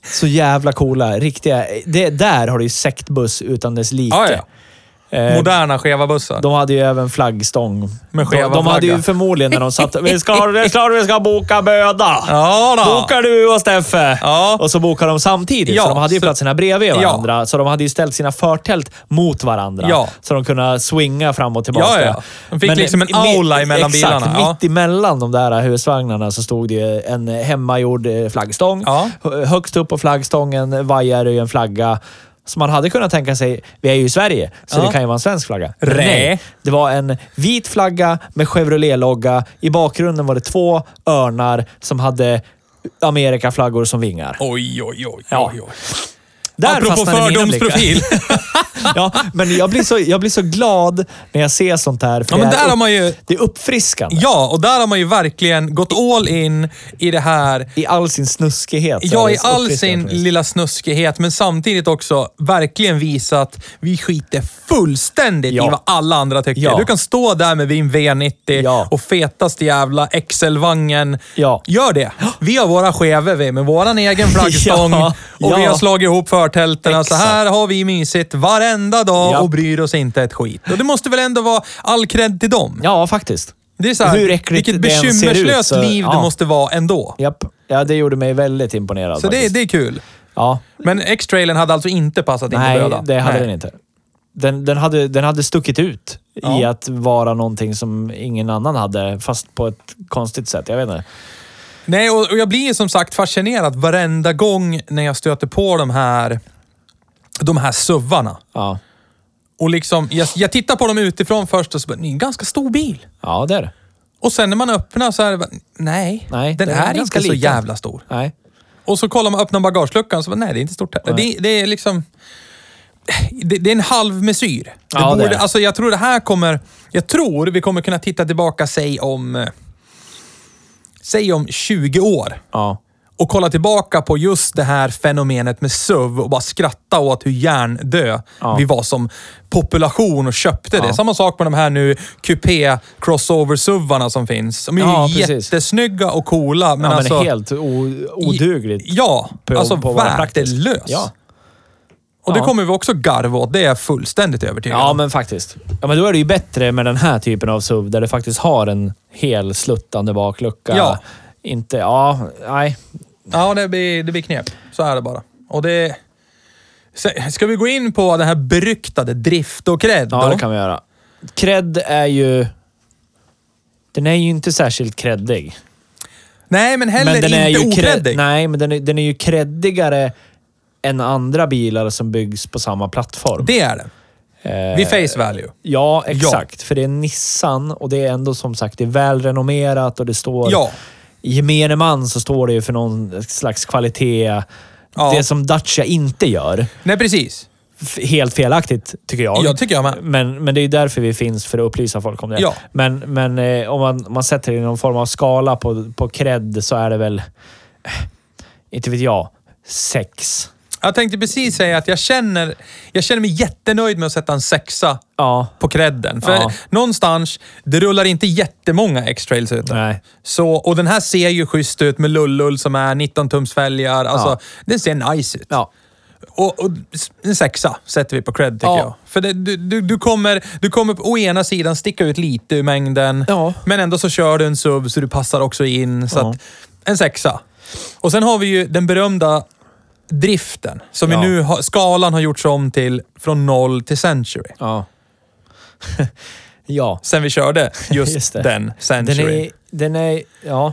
[SPEAKER 2] Så jävla coola. Riktiga... Det, där har du ju sektbuss utan dess
[SPEAKER 1] <laughs>
[SPEAKER 2] like.
[SPEAKER 1] Ja, ja.
[SPEAKER 2] <laughs> Eh,
[SPEAKER 1] Moderna skeva bussar.
[SPEAKER 2] De hade ju även flaggstång.
[SPEAKER 1] Med skeva
[SPEAKER 2] de, de hade
[SPEAKER 1] flagga.
[SPEAKER 2] ju förmodligen när de satt... Vi ska, ha- det är klart vi ska boka böda!
[SPEAKER 1] Ja då.
[SPEAKER 2] Bokar du och Steffe!
[SPEAKER 1] Ja.
[SPEAKER 2] Och så bokar de samtidigt,
[SPEAKER 1] Ja,
[SPEAKER 2] så de hade ju
[SPEAKER 1] så-
[SPEAKER 2] platserna bredvid varandra. Så de hade ju ställt sina förtält mot varandra.
[SPEAKER 1] Ja.
[SPEAKER 2] Så de kunde swinga fram och tillbaka.
[SPEAKER 1] Ja, ja. De fick liksom en aula emellan
[SPEAKER 2] exakt,
[SPEAKER 1] bilarna, ja.
[SPEAKER 2] mitt emellan de där husvagnarna så stod det ju en hemmagjord eh, flaggstång.
[SPEAKER 1] Ja.
[SPEAKER 2] Hö- Högst upp på flaggstången vajar det ju en flagga. Så man hade kunnat tänka sig, vi är ju i Sverige, så
[SPEAKER 1] Ja.
[SPEAKER 2] det kan ju vara en svensk flagga.
[SPEAKER 1] Rä.
[SPEAKER 2] Nej. Det var en vit flagga med Chevrolet-logga. I bakgrunden var det två örnar som hade Amerikaflaggor som vingar.
[SPEAKER 1] Oj, oj, oj.
[SPEAKER 2] Ja.
[SPEAKER 1] oj, oj.
[SPEAKER 2] Där
[SPEAKER 1] Apropå
[SPEAKER 2] fastnade mina
[SPEAKER 1] <laughs>
[SPEAKER 2] blickar.
[SPEAKER 1] fördomsprofil.
[SPEAKER 2] ja, men jag blir, så, jag blir så glad när jag ser sånt här. För
[SPEAKER 1] Ja, men
[SPEAKER 2] det, är
[SPEAKER 1] där
[SPEAKER 2] upp,
[SPEAKER 1] har man ju...
[SPEAKER 2] det är uppfriskande.
[SPEAKER 1] Ja, och där har man ju verkligen gått all in i det här.
[SPEAKER 2] I all sin snuskighet. så är
[SPEAKER 1] Ja,
[SPEAKER 2] det
[SPEAKER 1] i
[SPEAKER 2] så
[SPEAKER 1] all
[SPEAKER 2] uppfriskande
[SPEAKER 1] sin
[SPEAKER 2] på något vis.
[SPEAKER 1] lilla snuskighet, men samtidigt också verkligen visa att vi skiter fullständigt
[SPEAKER 2] Ja.
[SPEAKER 1] i vad alla andra tycker.
[SPEAKER 2] Ja.
[SPEAKER 1] Du kan stå där med din V90
[SPEAKER 2] Ja.
[SPEAKER 1] och fetaste jävla XL-vagnen.
[SPEAKER 2] Ja.
[SPEAKER 1] Gör det. Vi har våra skevor vi, med våran egen flaggstång
[SPEAKER 2] <laughs> Ja.
[SPEAKER 1] och vi
[SPEAKER 2] Ja.
[SPEAKER 1] har slagit ihop förtältena. Så
[SPEAKER 2] Exakt.
[SPEAKER 1] här har vi mysigt varenda dag
[SPEAKER 2] Ja.
[SPEAKER 1] och bryr oss inte ett skit. Och det måste väl ändå vara all cred till dem?
[SPEAKER 2] Ja, faktiskt.
[SPEAKER 1] Det är så här,
[SPEAKER 2] Hur äckligt
[SPEAKER 1] vilket
[SPEAKER 2] det än ser ut,
[SPEAKER 1] bekymmerslöst
[SPEAKER 2] så-
[SPEAKER 1] liv det
[SPEAKER 2] ja.
[SPEAKER 1] måste vara ändå.
[SPEAKER 2] Japp. Ja, det gjorde mig väldigt imponerad.
[SPEAKER 1] Så det,
[SPEAKER 2] faktiskt.
[SPEAKER 1] det är kul.
[SPEAKER 2] Ja.
[SPEAKER 1] Men X-trailen hade alltså inte passat in
[SPEAKER 2] Nej,
[SPEAKER 1] på Böda?
[SPEAKER 2] det hade
[SPEAKER 1] Nej.
[SPEAKER 2] den inte. Den, den, hade, den hade stuckit ut i
[SPEAKER 1] Ja.
[SPEAKER 2] att vara någonting som ingen annan hade, fast på ett konstigt sätt. Jag vet inte.
[SPEAKER 1] Nej, och, och jag blir ju som sagt fascinerad varenda gång när jag stöter på de här, de här suvarna.
[SPEAKER 2] Ja,
[SPEAKER 1] Och liksom, jag, jag tittar på dem utifrån först och så bara, "Ni är en ganska stor bil.
[SPEAKER 2] ja det är det.
[SPEAKER 1] Och sen när man öppnar så är det bara, nej,
[SPEAKER 2] Nej,
[SPEAKER 1] den
[SPEAKER 2] den är
[SPEAKER 1] är,
[SPEAKER 2] ganska
[SPEAKER 1] inte så
[SPEAKER 2] liten."
[SPEAKER 1] jävla stor.
[SPEAKER 2] Nej.
[SPEAKER 1] Och så kollar man, öppnar bagageluckan så bara, nej det är inte stort heller.
[SPEAKER 2] Nej.
[SPEAKER 1] Det, det är liksom... Det, det är en halv mesyr. Det
[SPEAKER 2] Ja, det är det.
[SPEAKER 1] Alltså jag tror det här kommer... Jag tror vi kommer kunna titta tillbaka, säg om... eh, Säg om 20 år
[SPEAKER 2] Ja.
[SPEAKER 1] och kolla tillbaka på just det här fenomenet med SUV och bara skratta åt hur hjärndö
[SPEAKER 2] Ja.
[SPEAKER 1] vi var som population och köpte det.
[SPEAKER 2] Ja.
[SPEAKER 1] Samma sak med de här nu kupé crossover suvarna som finns. De är
[SPEAKER 2] Ja,
[SPEAKER 1] ju
[SPEAKER 2] precis.
[SPEAKER 1] jättesnygga och coola, men
[SPEAKER 2] Men, ja,
[SPEAKER 1] alltså...
[SPEAKER 2] men helt o, odugligt.
[SPEAKER 1] Ja,
[SPEAKER 2] på-
[SPEAKER 1] alltså
[SPEAKER 2] på att vara praktisk.
[SPEAKER 1] värdelös.
[SPEAKER 2] Ja.
[SPEAKER 1] Och det
[SPEAKER 2] Ja.
[SPEAKER 1] kommer vi också garva åt, det är jag fullständigt övertygad
[SPEAKER 2] Ja,
[SPEAKER 1] om.
[SPEAKER 2] men faktiskt. Ja, men då är det ju bättre med den här typen av SUV där du faktiskt har en hel sluttande baklucka.
[SPEAKER 1] Ja.
[SPEAKER 2] Inte... Ja, nej.
[SPEAKER 1] Ja, det blir, det blir knep. Så är det bara. Och det... Sen- Ska vi gå in på den här beryktade drift och cred
[SPEAKER 2] Ja,
[SPEAKER 1] då?
[SPEAKER 2] det kan vi göra. Cred är ju... Den är ju inte särskilt creddig.
[SPEAKER 1] Nej, men heller
[SPEAKER 2] men den
[SPEAKER 1] inte
[SPEAKER 2] är ju cred-
[SPEAKER 1] okreddig.
[SPEAKER 2] Nej, men den är, den är ju creddigare än andra bilar som byggs på samma plattform.
[SPEAKER 1] Det är det.
[SPEAKER 2] Eh,
[SPEAKER 1] Vid face value.
[SPEAKER 2] Ja, exakt. För det är Nissan och det är ändå som sagt det är välrenommerat och det står...
[SPEAKER 1] Ja.
[SPEAKER 2] I gemene man så står det ju för någon slags kvalitet.
[SPEAKER 1] Ja.
[SPEAKER 2] Det som Dacia inte gör.
[SPEAKER 1] Nej, precis.
[SPEAKER 2] F- helt felaktigt, tycker jag.
[SPEAKER 1] Jag tycker jag med.
[SPEAKER 2] Men, men det är ju därför vi finns, för att upplysa folk om det.
[SPEAKER 1] Ja.
[SPEAKER 2] Men, men eh, om man, man sätter det i någon form av skala på, på cred så är det väl, eh, inte vet jag, sex.
[SPEAKER 1] Jag tänkte precis säga att jag känner, jag känner mig jättenöjd med att sätta en sexa
[SPEAKER 2] Ja.
[SPEAKER 1] på credden. För
[SPEAKER 2] Ja.
[SPEAKER 1] någonstans, det rullar inte jättemånga X-trails ut.
[SPEAKER 2] Nej.
[SPEAKER 1] Så, och den här ser ju schysst ut med lullull som är 19-tums fälgar. Alltså,
[SPEAKER 2] Ja.
[SPEAKER 1] Den ser nice ut.
[SPEAKER 2] Ja.
[SPEAKER 1] Och, och s- en sexa sätter vi på cred tycker
[SPEAKER 2] Ja.
[SPEAKER 1] jag. För det, du, du, du, kommer, du kommer å ena sidan sticka ut lite ur mängden,
[SPEAKER 2] Ja.
[SPEAKER 1] men ändå så kör du en SUV så du passar också in. Så
[SPEAKER 2] Ja.
[SPEAKER 1] att, en sexa. Och sen har vi ju den berömda driften, som
[SPEAKER 2] Ja.
[SPEAKER 1] vi nu har, skalan har gjorts om till från noll till century.
[SPEAKER 2] Ja. ja.
[SPEAKER 1] Sen vi
[SPEAKER 2] <laughs>
[SPEAKER 1] körde just,
[SPEAKER 2] Just det.
[SPEAKER 1] den
[SPEAKER 2] Den
[SPEAKER 1] century.
[SPEAKER 2] är, den är, ja.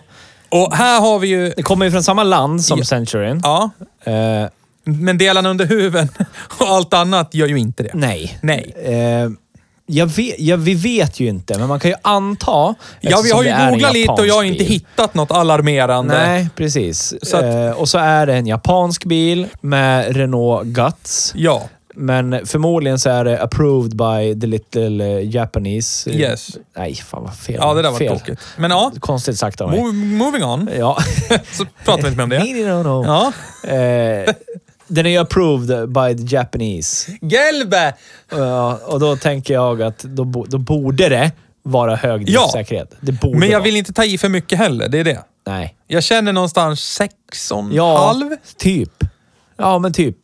[SPEAKER 1] Och här har vi ju...
[SPEAKER 2] Det kommer ju från samma land som
[SPEAKER 1] Ja.
[SPEAKER 2] Centuryn.
[SPEAKER 1] Ja,
[SPEAKER 2] Eh,
[SPEAKER 1] Men delarna under huven <laughs> och allt annat gör ju inte det.
[SPEAKER 2] nej.
[SPEAKER 1] Nej.
[SPEAKER 2] Eh, jag vet, ja, vi vet ju inte, men man kan ju anta.
[SPEAKER 1] Ja, vi har
[SPEAKER 2] eftersom det är
[SPEAKER 1] ju
[SPEAKER 2] en
[SPEAKER 1] googlat lite och jag har
[SPEAKER 2] japansk
[SPEAKER 1] inte
[SPEAKER 2] bil.
[SPEAKER 1] hittat något alarmerande.
[SPEAKER 2] Nej, precis.
[SPEAKER 1] Så att-
[SPEAKER 2] eh, och så är det en japansk bil med Renault Guts.
[SPEAKER 1] Ja,
[SPEAKER 2] Men förmodligen så är det approved by the little eh, Japanese. eh,
[SPEAKER 1] Yes.
[SPEAKER 2] Nej, fan vad fel.
[SPEAKER 1] ja det där var
[SPEAKER 2] fel.
[SPEAKER 1] tråkigt. Men ja,
[SPEAKER 2] Konstigt sagt av mig.
[SPEAKER 1] mo- moving on.
[SPEAKER 2] Ja. <laughs>
[SPEAKER 1] Så pratar vi inte mer om det.
[SPEAKER 2] Nej, no, no.
[SPEAKER 1] Ja.
[SPEAKER 2] Eh, den är ju approved by the Japanese.
[SPEAKER 1] Gelbe!
[SPEAKER 2] Ja, och då tänker jag att då, bo, då borde det vara hög
[SPEAKER 1] Ja.
[SPEAKER 2] driftsäkerhet. Det borde
[SPEAKER 1] Men jag
[SPEAKER 2] vara.
[SPEAKER 1] vill inte ta i för mycket heller, det är det.
[SPEAKER 2] Nej.
[SPEAKER 1] Jag känner någonstans sex och en
[SPEAKER 2] Ja,
[SPEAKER 1] halv.
[SPEAKER 2] typ. Ja, men typ.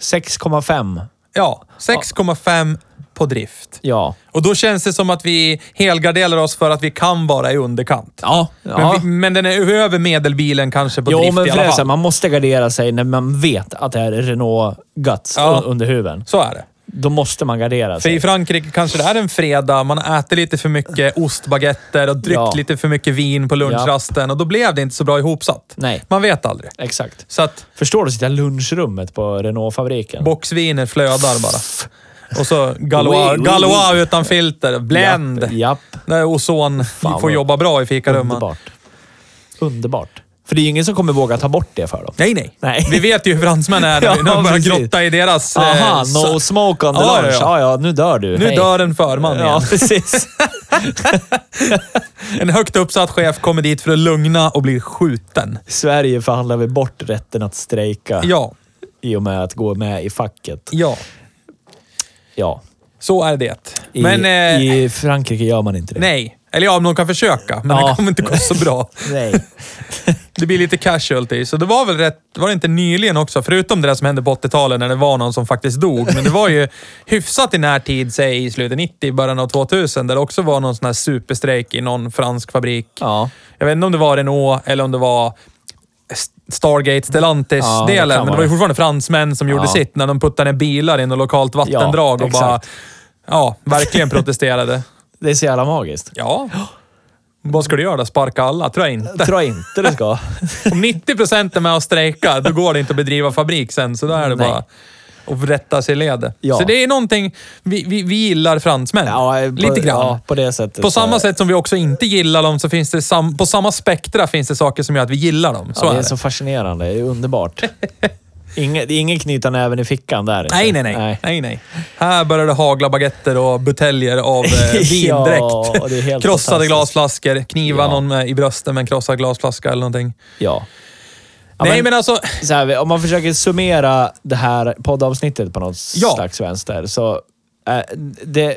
[SPEAKER 2] 6,5.
[SPEAKER 1] Ja, 6,5 på drift.
[SPEAKER 2] Ja.
[SPEAKER 1] Och då känns det som att vi helgarderar oss för att vi kan vara i underkant.
[SPEAKER 2] Ja.
[SPEAKER 1] Men, vi, men den är över medelbilen kanske på
[SPEAKER 2] Jo,
[SPEAKER 1] drift
[SPEAKER 2] men
[SPEAKER 1] i
[SPEAKER 2] för
[SPEAKER 1] alla
[SPEAKER 2] det är så här,
[SPEAKER 1] fall.
[SPEAKER 2] man måste gardera sig när man vet att det är Renault Guts
[SPEAKER 1] Ja.
[SPEAKER 2] u- under huven.
[SPEAKER 1] Så är det.
[SPEAKER 2] Då måste man gardera
[SPEAKER 1] För i
[SPEAKER 2] sig.
[SPEAKER 1] Frankrike kanske det är en fredag, man äter lite för mycket ostbaguetter och dryckt
[SPEAKER 2] Ja.
[SPEAKER 1] lite för mycket vin på lunchrasten och då blev det inte så bra ihopsatt.
[SPEAKER 2] Nej.
[SPEAKER 1] Man vet aldrig.
[SPEAKER 2] Exakt.
[SPEAKER 1] Så att
[SPEAKER 2] Förstår du att sitta i lunchrummet på Renault-fabriken?
[SPEAKER 1] boxviner flödar bara. Och så
[SPEAKER 2] Oui,
[SPEAKER 1] Galois,
[SPEAKER 2] oui,
[SPEAKER 1] Galois utan filter. Blend!
[SPEAKER 2] Japp, japp.
[SPEAKER 1] När ozon
[SPEAKER 2] Fan,
[SPEAKER 1] får
[SPEAKER 2] vad-
[SPEAKER 1] jobba bra i fikarumman.
[SPEAKER 2] Underbart. Underbart. För det är ju ingen som kommer våga ta bort det för dem.
[SPEAKER 1] Nej, nej,
[SPEAKER 2] Nej.
[SPEAKER 1] Vi vet ju hur fransmän är
[SPEAKER 2] <laughs> Ja,
[SPEAKER 1] när de börjar
[SPEAKER 2] precis.
[SPEAKER 1] grotta i deras... eh,
[SPEAKER 2] Aha,
[SPEAKER 1] sa-
[SPEAKER 2] no smoke on the
[SPEAKER 1] Ja, ja,
[SPEAKER 2] lunch.
[SPEAKER 1] ja.
[SPEAKER 2] Ja, ja, nu dör du.
[SPEAKER 1] Nu
[SPEAKER 2] Hej.
[SPEAKER 1] dör en förman igen.
[SPEAKER 2] Ja,
[SPEAKER 1] <laughs>
[SPEAKER 2] precis.
[SPEAKER 1] En högt uppsatt chef kommer dit för att lugna och blir skjuten.
[SPEAKER 2] I Sverige förhandlar vi bort rätten att strejka
[SPEAKER 1] Ja,
[SPEAKER 2] i och med att gå med i facket.
[SPEAKER 1] ja.
[SPEAKER 2] Ja.
[SPEAKER 1] Så är det.
[SPEAKER 2] I,
[SPEAKER 1] Men... eh,
[SPEAKER 2] I Frankrike gör man inte det.
[SPEAKER 1] Nej. Eller ja, om de kan försöka, men det
[SPEAKER 2] Ja.
[SPEAKER 1] kommer inte gå så bra.
[SPEAKER 2] Nej.
[SPEAKER 1] Det blir lite casualty. Så det var väl rätt... Var det inte nyligen också? Förutom det där som hände på 80-talet när det var någon som faktiskt dog. Men det var ju hyfsat i närtid, säg i slutet 90, början av 2000, där det också var någon sån här superstrejk i någon fransk fabrik.
[SPEAKER 2] Ja.
[SPEAKER 1] Jag vet inte om det var Renault eller om det var S- Stargate
[SPEAKER 2] Ja, det kan
[SPEAKER 1] Stellantis-delen, men det
[SPEAKER 2] vara
[SPEAKER 1] var ju
[SPEAKER 2] det.
[SPEAKER 1] fortfarande fransmän som gjorde
[SPEAKER 2] Ja.
[SPEAKER 1] sitt när de puttade ner bilar i något lokalt vattendrag och bara...
[SPEAKER 2] exakt.
[SPEAKER 1] Ja, verkligen protesterade.
[SPEAKER 2] Det är så jävla magiskt.
[SPEAKER 1] Ja. <gasps> Vad ska du göra då? Sparka alla? Tror jag inte.
[SPEAKER 2] Jag tror inte
[SPEAKER 1] <laughs>
[SPEAKER 2] det ska.
[SPEAKER 1] Om 90 procent är med och strejkar, då går det inte att bedriva fabrik sen. Så då är det
[SPEAKER 2] Nej.
[SPEAKER 1] bara att rätta sig i ledet.
[SPEAKER 2] Ja.
[SPEAKER 1] Så det är någonting... Vi, vi, vi gillar fransmän.
[SPEAKER 2] Ja, eh, på,
[SPEAKER 1] Lite grann.
[SPEAKER 2] Ja, på det sättet.
[SPEAKER 1] På
[SPEAKER 2] så-
[SPEAKER 1] samma sätt som vi också inte gillar dem, så finns det sam, på samma spektra finns det saker som gör att vi gillar dem. Så
[SPEAKER 2] ja, det
[SPEAKER 1] är
[SPEAKER 2] är,
[SPEAKER 1] det.
[SPEAKER 2] så fascinerande. Det
[SPEAKER 1] <laughs>
[SPEAKER 2] är underbart. Inge, det är ingen knyta näven i fickan där. inte.
[SPEAKER 1] Nej, nej, nej, nej. nej, Här börjar det hagla baguetter och buteljer
[SPEAKER 2] <laughs>
[SPEAKER 1] av eh,
[SPEAKER 2] Ja, det är
[SPEAKER 1] vindräkt. krossade
[SPEAKER 2] helt fantastiskt.
[SPEAKER 1] glasflaskor. Kniva
[SPEAKER 2] Ja.
[SPEAKER 1] någon med, i bröstet med en krossad glasflaska eller någonting.
[SPEAKER 2] Ja. Ja,
[SPEAKER 1] nej, men, alltså...
[SPEAKER 2] så här, om man försöker summera det här poddavsnittet på något
[SPEAKER 1] Ja.
[SPEAKER 2] slags vänster, så eh, det,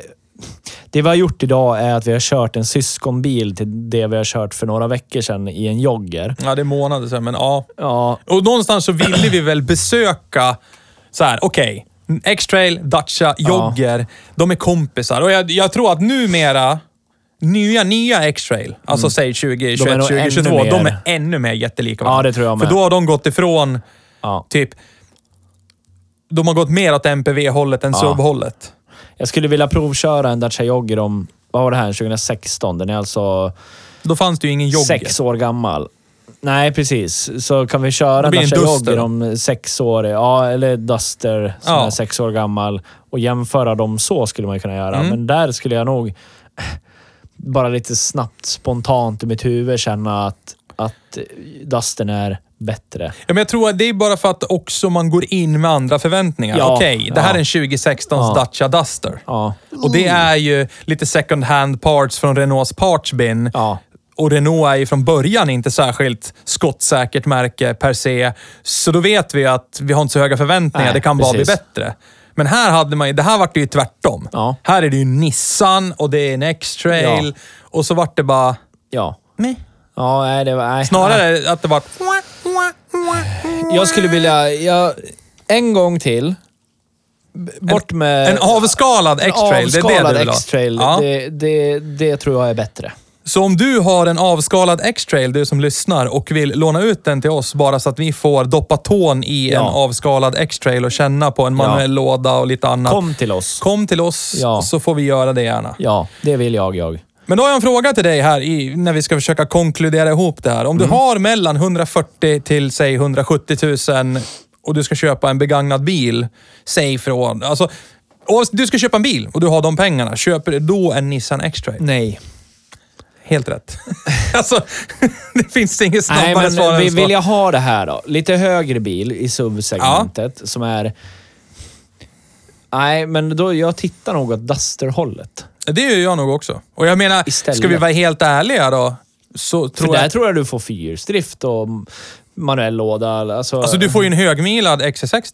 [SPEAKER 2] det vi har gjort idag är att vi har kört en syskonbil till det vi har kört för några veckor sedan i en jogger.
[SPEAKER 1] Ja, det är månader sedan, men ja.
[SPEAKER 2] Ja,
[SPEAKER 1] Och någonstans så ville vi väl besöka så här, okej. X-trail, Dacia, Jogger. De är kompisar. Och jag, jag tror att numera, nya, nya X-trail, alltså säg 20, 21,
[SPEAKER 2] Mm. nog
[SPEAKER 1] 20,
[SPEAKER 2] ännu
[SPEAKER 1] 22, de
[SPEAKER 2] mer-
[SPEAKER 1] är ännu mer jättelika
[SPEAKER 2] Ja,
[SPEAKER 1] varandra.
[SPEAKER 2] det tror jag
[SPEAKER 1] För
[SPEAKER 2] med.
[SPEAKER 1] då har de gått ifrån
[SPEAKER 2] ja.
[SPEAKER 1] typ... De har gått mer åt MPV-hållet än SUV-hållet.
[SPEAKER 2] Jag skulle vilja provköra en Dacia Jogger om, vad var det här, 2016? Den är alltså
[SPEAKER 1] Då fanns det ju ingen jogger.
[SPEAKER 2] sex år gammal. Nej, precis. Så kan vi köra
[SPEAKER 1] Det
[SPEAKER 2] en
[SPEAKER 1] blir en
[SPEAKER 2] Dacia
[SPEAKER 1] Duster.
[SPEAKER 2] Jogger om sex år, ja, eller Duster som
[SPEAKER 1] Ja.
[SPEAKER 2] är sex år gammal och jämföra dem så skulle man ju kunna göra.
[SPEAKER 1] Mm.
[SPEAKER 2] Men där skulle jag nog bara lite snabbt, spontant i mitt huvud känna att, att Dustern är bättre.
[SPEAKER 1] Ja, men jag tror att det är bara för att också man går in med andra förväntningar.
[SPEAKER 2] Ja,
[SPEAKER 1] Okej, det här
[SPEAKER 2] ja.
[SPEAKER 1] är en 2016
[SPEAKER 2] Ja.
[SPEAKER 1] Dacia Duster.
[SPEAKER 2] Ja.
[SPEAKER 1] Och det är ju lite second hand parts från Renaults parts bin.
[SPEAKER 2] Ja.
[SPEAKER 1] Och Renault är ju från början inte särskilt skottsäkert märke per se. Så då vet vi att vi har inte så höga förväntningar.
[SPEAKER 2] Nej,
[SPEAKER 1] det kan bara bli
[SPEAKER 2] precis.
[SPEAKER 1] bättre. Men här hade man ju, det här vart det ju tvärtom.
[SPEAKER 2] Ja.
[SPEAKER 1] Här är det ju Nissan och det är en X-trail.
[SPEAKER 2] Ja.
[SPEAKER 1] Och så vart det bara...
[SPEAKER 2] Ja.
[SPEAKER 1] Meh.
[SPEAKER 2] Ja, nej, det var... nej.
[SPEAKER 1] Snarare att det vart...
[SPEAKER 2] Jag skulle vilja... Jag, en gång till. B- Bort med...
[SPEAKER 1] En avskalad X-trail. Det är det du
[SPEAKER 2] avskalad
[SPEAKER 1] vill ha.
[SPEAKER 2] X-trail.
[SPEAKER 1] Ja.
[SPEAKER 2] Det, det, det tror jag är bättre.
[SPEAKER 1] Så om du har en avskalad X-trail, du som lyssnar, och vill låna ut den till oss bara så att vi får doppa tån i
[SPEAKER 2] Ja.
[SPEAKER 1] en avskalad X-trail och känna på en manuell låda och lite annat.
[SPEAKER 2] Kom till oss.
[SPEAKER 1] Kom till oss
[SPEAKER 2] Ja.
[SPEAKER 1] så får vi göra det gärna.
[SPEAKER 2] Ja, det vill jag. jag.
[SPEAKER 1] Men då har jag en fråga till dig här i, när vi ska försöka konkludera ihop det här. Om
[SPEAKER 2] Mm.
[SPEAKER 1] du har mellan 140 till säg 170 000 och du ska köpa en begagnad bil, säg från... Alltså, och du ska köpa en bil och du har de pengarna. Köper du då en Nissan X-trail?
[SPEAKER 2] Nej.
[SPEAKER 1] Helt rätt. <laughs> alltså, det finns inget snabbare
[SPEAKER 2] Nej, men eh,
[SPEAKER 1] svar
[SPEAKER 2] vi-
[SPEAKER 1] än så.
[SPEAKER 2] vill jag ha det här då? Lite högre bil i SUV-segmentet som är... Nej, men då, jag tittar nog åt Duster-hållet.
[SPEAKER 1] Det gör jag nog också. Och jag menar,
[SPEAKER 2] Istället.
[SPEAKER 1] ska vi vara helt ärliga då, så
[SPEAKER 2] För
[SPEAKER 1] tror
[SPEAKER 2] där
[SPEAKER 1] jag...
[SPEAKER 2] tror jag du får fyrhjulsdrift och manuell låda. Alltså,
[SPEAKER 1] Alltså du får ju en högmilad XC60.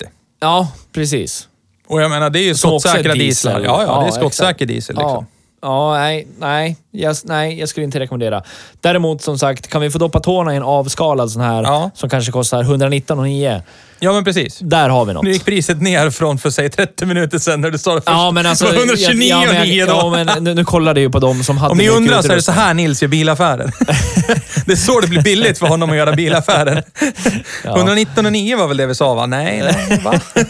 [SPEAKER 2] Ja, precis.
[SPEAKER 1] Och jag menar, det är ju
[SPEAKER 2] Som också är
[SPEAKER 1] skottsäkra
[SPEAKER 2] diesel.
[SPEAKER 1] dieslar. Ja, ja, det är
[SPEAKER 2] Ja,
[SPEAKER 1] skottsäker
[SPEAKER 2] exakt.
[SPEAKER 1] diesel liksom.
[SPEAKER 2] Ja, ja nej, nej, jag, nej, jag skulle inte rekommendera. Däremot som sagt, kan vi få doppa tårna i en avskalad sån här
[SPEAKER 1] Ja.
[SPEAKER 2] som kanske kostar 119 och 9.
[SPEAKER 1] Ja, men precis.
[SPEAKER 2] Där har vi något.
[SPEAKER 1] Nu gick priset ner från för säg 30 minuter sedan när du sa det först.
[SPEAKER 2] Ja, men alltså,
[SPEAKER 1] det var 129
[SPEAKER 2] ja, men,
[SPEAKER 1] nio då.
[SPEAKER 2] ja, men nu, nu kollade jag ju på de som hade
[SPEAKER 1] Om ni
[SPEAKER 2] mycket
[SPEAKER 1] undrar så är det
[SPEAKER 2] utrustning.
[SPEAKER 1] så här Nils gör
[SPEAKER 2] <laughs>
[SPEAKER 1] bilaffärer. det är så det blir billigt för honom att göra bilaffärer.
[SPEAKER 2] Ja.
[SPEAKER 1] 119,9 var väl det vi sa va? Nej, nej va? Jo,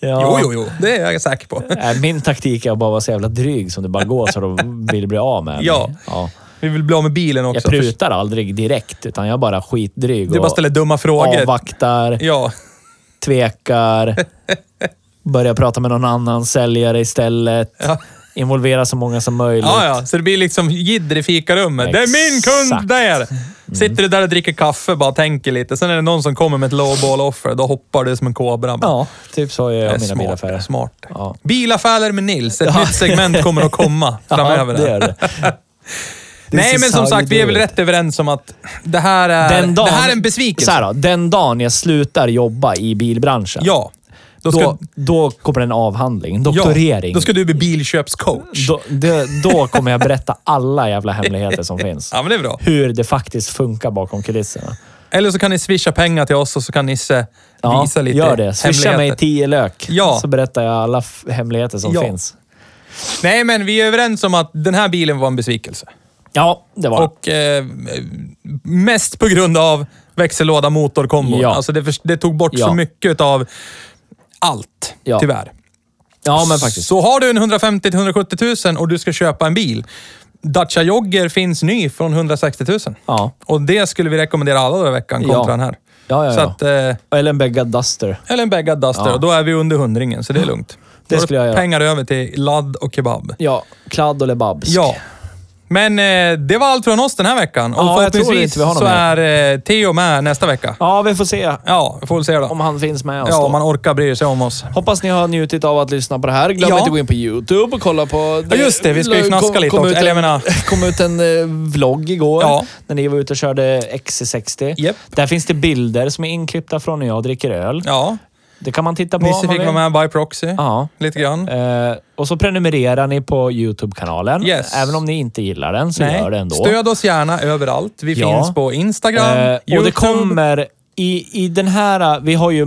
[SPEAKER 2] Ja.
[SPEAKER 1] jo, jo. Det är jag säker på.
[SPEAKER 2] Nej, Min taktik är att bara vara så jävla dryg som det bara går så de vill bli av med mig.
[SPEAKER 1] Ja.
[SPEAKER 2] ja.
[SPEAKER 1] <laughs> Vi vill bli av med bilen
[SPEAKER 2] Jag
[SPEAKER 1] också.
[SPEAKER 2] prutar aldrig direkt, utan jag är bara skitdryg.
[SPEAKER 1] Du bara
[SPEAKER 2] och
[SPEAKER 1] ställer dumma frågor.
[SPEAKER 2] Avvaktar,
[SPEAKER 1] Ja, <laughs>
[SPEAKER 2] tvekar, börjar prata med någon annan säljare istället.
[SPEAKER 1] Ja.
[SPEAKER 2] Involvera så många som möjligt.
[SPEAKER 1] ja, ja. Så det blir liksom jidder i fikarummet. Det är min
[SPEAKER 2] Exakt. Mm.
[SPEAKER 1] kund där! Sitter du där och dricker kaffe, bara tänker lite. Sen är det någon som kommer med ett lowball-offer. Då hoppar du som en kobra. bara.
[SPEAKER 2] Ja, typ så gör jag mina
[SPEAKER 1] smart,
[SPEAKER 2] bilaffärer.
[SPEAKER 1] Smart.
[SPEAKER 2] Ja.
[SPEAKER 1] Bilaffärer med Nils. Ett nytt segment kommer att komma framöver.
[SPEAKER 2] <laughs> Ja, det gör det.
[SPEAKER 1] <laughs>
[SPEAKER 2] This
[SPEAKER 1] Nej,
[SPEAKER 2] is
[SPEAKER 1] men som
[SPEAKER 2] how
[SPEAKER 1] sagt,
[SPEAKER 2] you
[SPEAKER 1] vi är
[SPEAKER 2] do
[SPEAKER 1] väl
[SPEAKER 2] it.
[SPEAKER 1] rätt överens om att det här är,
[SPEAKER 2] Den dagen,
[SPEAKER 1] det här är en besvikelse.
[SPEAKER 2] Så här då, den dagen jag slutar jobba i bilbranschen,
[SPEAKER 1] Ja. Då
[SPEAKER 2] då,
[SPEAKER 1] ska,
[SPEAKER 2] då, kommer en avhandling, en
[SPEAKER 1] ja,
[SPEAKER 2] doktorering. Mm.
[SPEAKER 1] Då ska du bli bilköpscoach.
[SPEAKER 2] då, det, då kommer jag berätta alla jävla
[SPEAKER 1] <laughs>
[SPEAKER 2] hemligheter som finns.
[SPEAKER 1] Ja, men det är bra.
[SPEAKER 2] Hur det faktiskt funkar bakom kulisserna.
[SPEAKER 1] Eller så kan ni swisha pengar till oss och så kan Nisse
[SPEAKER 2] Ja,
[SPEAKER 1] visa lite
[SPEAKER 2] gör det. Swisha mig
[SPEAKER 1] hemligheter.
[SPEAKER 2] 10 lök,
[SPEAKER 1] Ja.
[SPEAKER 2] så berättar jag alla f- hemligheter som
[SPEAKER 1] Ja.
[SPEAKER 2] finns.
[SPEAKER 1] Nej, men vi är överens om att den här bilen var en besvikelse.
[SPEAKER 2] Ja, det var det.
[SPEAKER 1] Och eh, mest på grund av växellåda motorkombon.
[SPEAKER 2] Ja.
[SPEAKER 1] Alltså det, förs- det tog bort så
[SPEAKER 2] Ja.
[SPEAKER 1] mycket av allt,
[SPEAKER 2] Ja.
[SPEAKER 1] tyvärr.
[SPEAKER 2] Ja, men faktiskt.
[SPEAKER 1] Så har du en 150 170 000 och du ska köpa en bil. Dacia Jogger finns ny från 160 000.
[SPEAKER 2] Ja.
[SPEAKER 1] Och det skulle vi rekommendera alla den här veckan kontra
[SPEAKER 2] Ja.
[SPEAKER 1] den här.
[SPEAKER 2] Ja, ja,
[SPEAKER 1] Så
[SPEAKER 2] ja.
[SPEAKER 1] att, eh,
[SPEAKER 2] Eller en beggad duster.
[SPEAKER 1] eller en baggad duster
[SPEAKER 2] Ja.
[SPEAKER 1] och då är vi under hundringen, så det är lugnt.
[SPEAKER 2] Det
[SPEAKER 1] Då har
[SPEAKER 2] skulle
[SPEAKER 1] du
[SPEAKER 2] jag göra.
[SPEAKER 1] pengar över till ladd och kebab.
[SPEAKER 2] Ja, kladd och lebabsk.
[SPEAKER 1] Ja. Men eh, det var allt från oss den här veckan. Och
[SPEAKER 2] Ja, jag tror
[SPEAKER 1] förhoppningsvis
[SPEAKER 2] inte vi har någon
[SPEAKER 1] så
[SPEAKER 2] mer.
[SPEAKER 1] är eh, Theo med nästa vecka.
[SPEAKER 2] ja, vi får se
[SPEAKER 1] Ja, vi får väl se då.
[SPEAKER 2] om han finns med oss
[SPEAKER 1] Ja,
[SPEAKER 2] då.
[SPEAKER 1] om man orkar bry sig om oss.
[SPEAKER 2] Hoppas ni har njutit av att lyssna på det här. Glöm
[SPEAKER 1] Ja.
[SPEAKER 2] inte att gå in på YouTube och kolla på...
[SPEAKER 1] Ja, just det. Vi ska ju fnaska lite också.
[SPEAKER 2] Ut en,
[SPEAKER 1] Eller jag menar-
[SPEAKER 2] <laughs> kom ut en eh, vlogg igår
[SPEAKER 1] Ja.
[SPEAKER 2] när ni var ute och körde XC60.
[SPEAKER 1] Japp.
[SPEAKER 2] Där finns det bilder som är inklippta från när jag dricker öl.
[SPEAKER 1] Ja,
[SPEAKER 2] Det kan man titta på om
[SPEAKER 1] Nisse
[SPEAKER 2] man
[SPEAKER 1] fick
[SPEAKER 2] vill.
[SPEAKER 1] vara med by proxy.
[SPEAKER 2] Ja.
[SPEAKER 1] Lite grann.
[SPEAKER 2] Eh, och så prenumererar ni på YouTube-kanalen.
[SPEAKER 1] Yes.
[SPEAKER 2] Även om ni inte gillar den så gör det ändå.
[SPEAKER 1] Stöd oss gärna överallt. Vi
[SPEAKER 2] Ja.
[SPEAKER 1] finns på Instagram,
[SPEAKER 2] Eh,
[SPEAKER 1] YouTube.
[SPEAKER 2] och det kommer i, i den här... eh, Vi har ju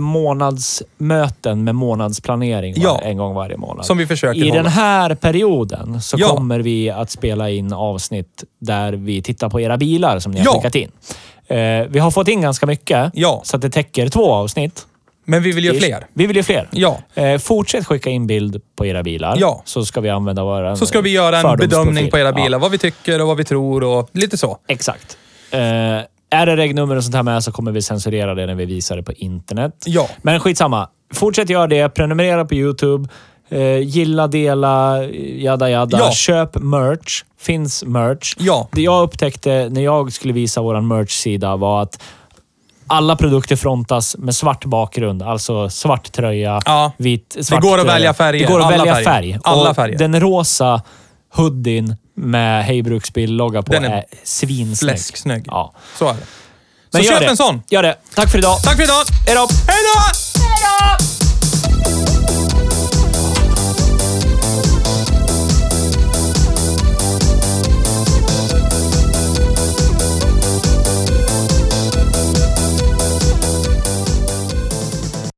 [SPEAKER 2] månadsmöten med månadsplanering var,
[SPEAKER 1] Ja.
[SPEAKER 2] en gång varje månad.
[SPEAKER 1] Som vi försöker
[SPEAKER 2] I
[SPEAKER 1] hålla.
[SPEAKER 2] den här perioden så
[SPEAKER 1] Ja.
[SPEAKER 2] kommer vi att spela in avsnitt där vi tittar på era bilar som ni har
[SPEAKER 1] Ja.
[SPEAKER 2] skickat in. Eh, vi har fått in ganska mycket,
[SPEAKER 1] Ja.
[SPEAKER 2] så att det täcker två avsnitt.
[SPEAKER 1] Men vi vill göra
[SPEAKER 2] Ish.
[SPEAKER 1] fler.
[SPEAKER 2] Vi vill ju fler.
[SPEAKER 1] Ja.
[SPEAKER 2] Eh, fortsätt skicka in bild på era bilar,
[SPEAKER 1] Ja.
[SPEAKER 2] så ska vi använda våra
[SPEAKER 1] Så ska vi göra en
[SPEAKER 2] fördomsprofil.
[SPEAKER 1] bedömning på era
[SPEAKER 2] Ja.
[SPEAKER 1] bilar. Vad vi tycker och vad vi tror och lite så.
[SPEAKER 2] Exakt. Eh, är det regnummer och sånt här med så kommer vi censurera det när vi visar det på internet.
[SPEAKER 1] Ja.
[SPEAKER 2] Men skitsamma. Fortsätt göra det. Prenumerera på YouTube. Eh, gilla, dela, jada jada.
[SPEAKER 1] Ja.
[SPEAKER 2] Köp merch. Finns merch.
[SPEAKER 1] Ja.
[SPEAKER 2] Det jag upptäckte när jag skulle visa vår merch-sida var att alla produkter frontas med svart bakgrund, alltså svart tröja,
[SPEAKER 1] Ja.
[SPEAKER 2] vit, svart...
[SPEAKER 1] går att
[SPEAKER 2] eh,
[SPEAKER 1] välja färger.
[SPEAKER 2] Det går att
[SPEAKER 1] Alla
[SPEAKER 2] välja
[SPEAKER 1] färger.
[SPEAKER 2] färg.
[SPEAKER 1] Alla
[SPEAKER 2] Och
[SPEAKER 1] färger.
[SPEAKER 2] Den rosa hoodien med Hej Bruksbil-logga på
[SPEAKER 1] Den
[SPEAKER 2] den
[SPEAKER 1] är
[SPEAKER 2] är, svinsnygg.
[SPEAKER 1] Fläsksnygg.
[SPEAKER 2] Ja.
[SPEAKER 1] Så är det.
[SPEAKER 2] Men
[SPEAKER 1] så
[SPEAKER 2] gör
[SPEAKER 1] köp
[SPEAKER 2] det.
[SPEAKER 1] en sån.
[SPEAKER 2] Gör det. Tack för idag.
[SPEAKER 1] Tack för idag!
[SPEAKER 2] Hej då!
[SPEAKER 1] Hej då!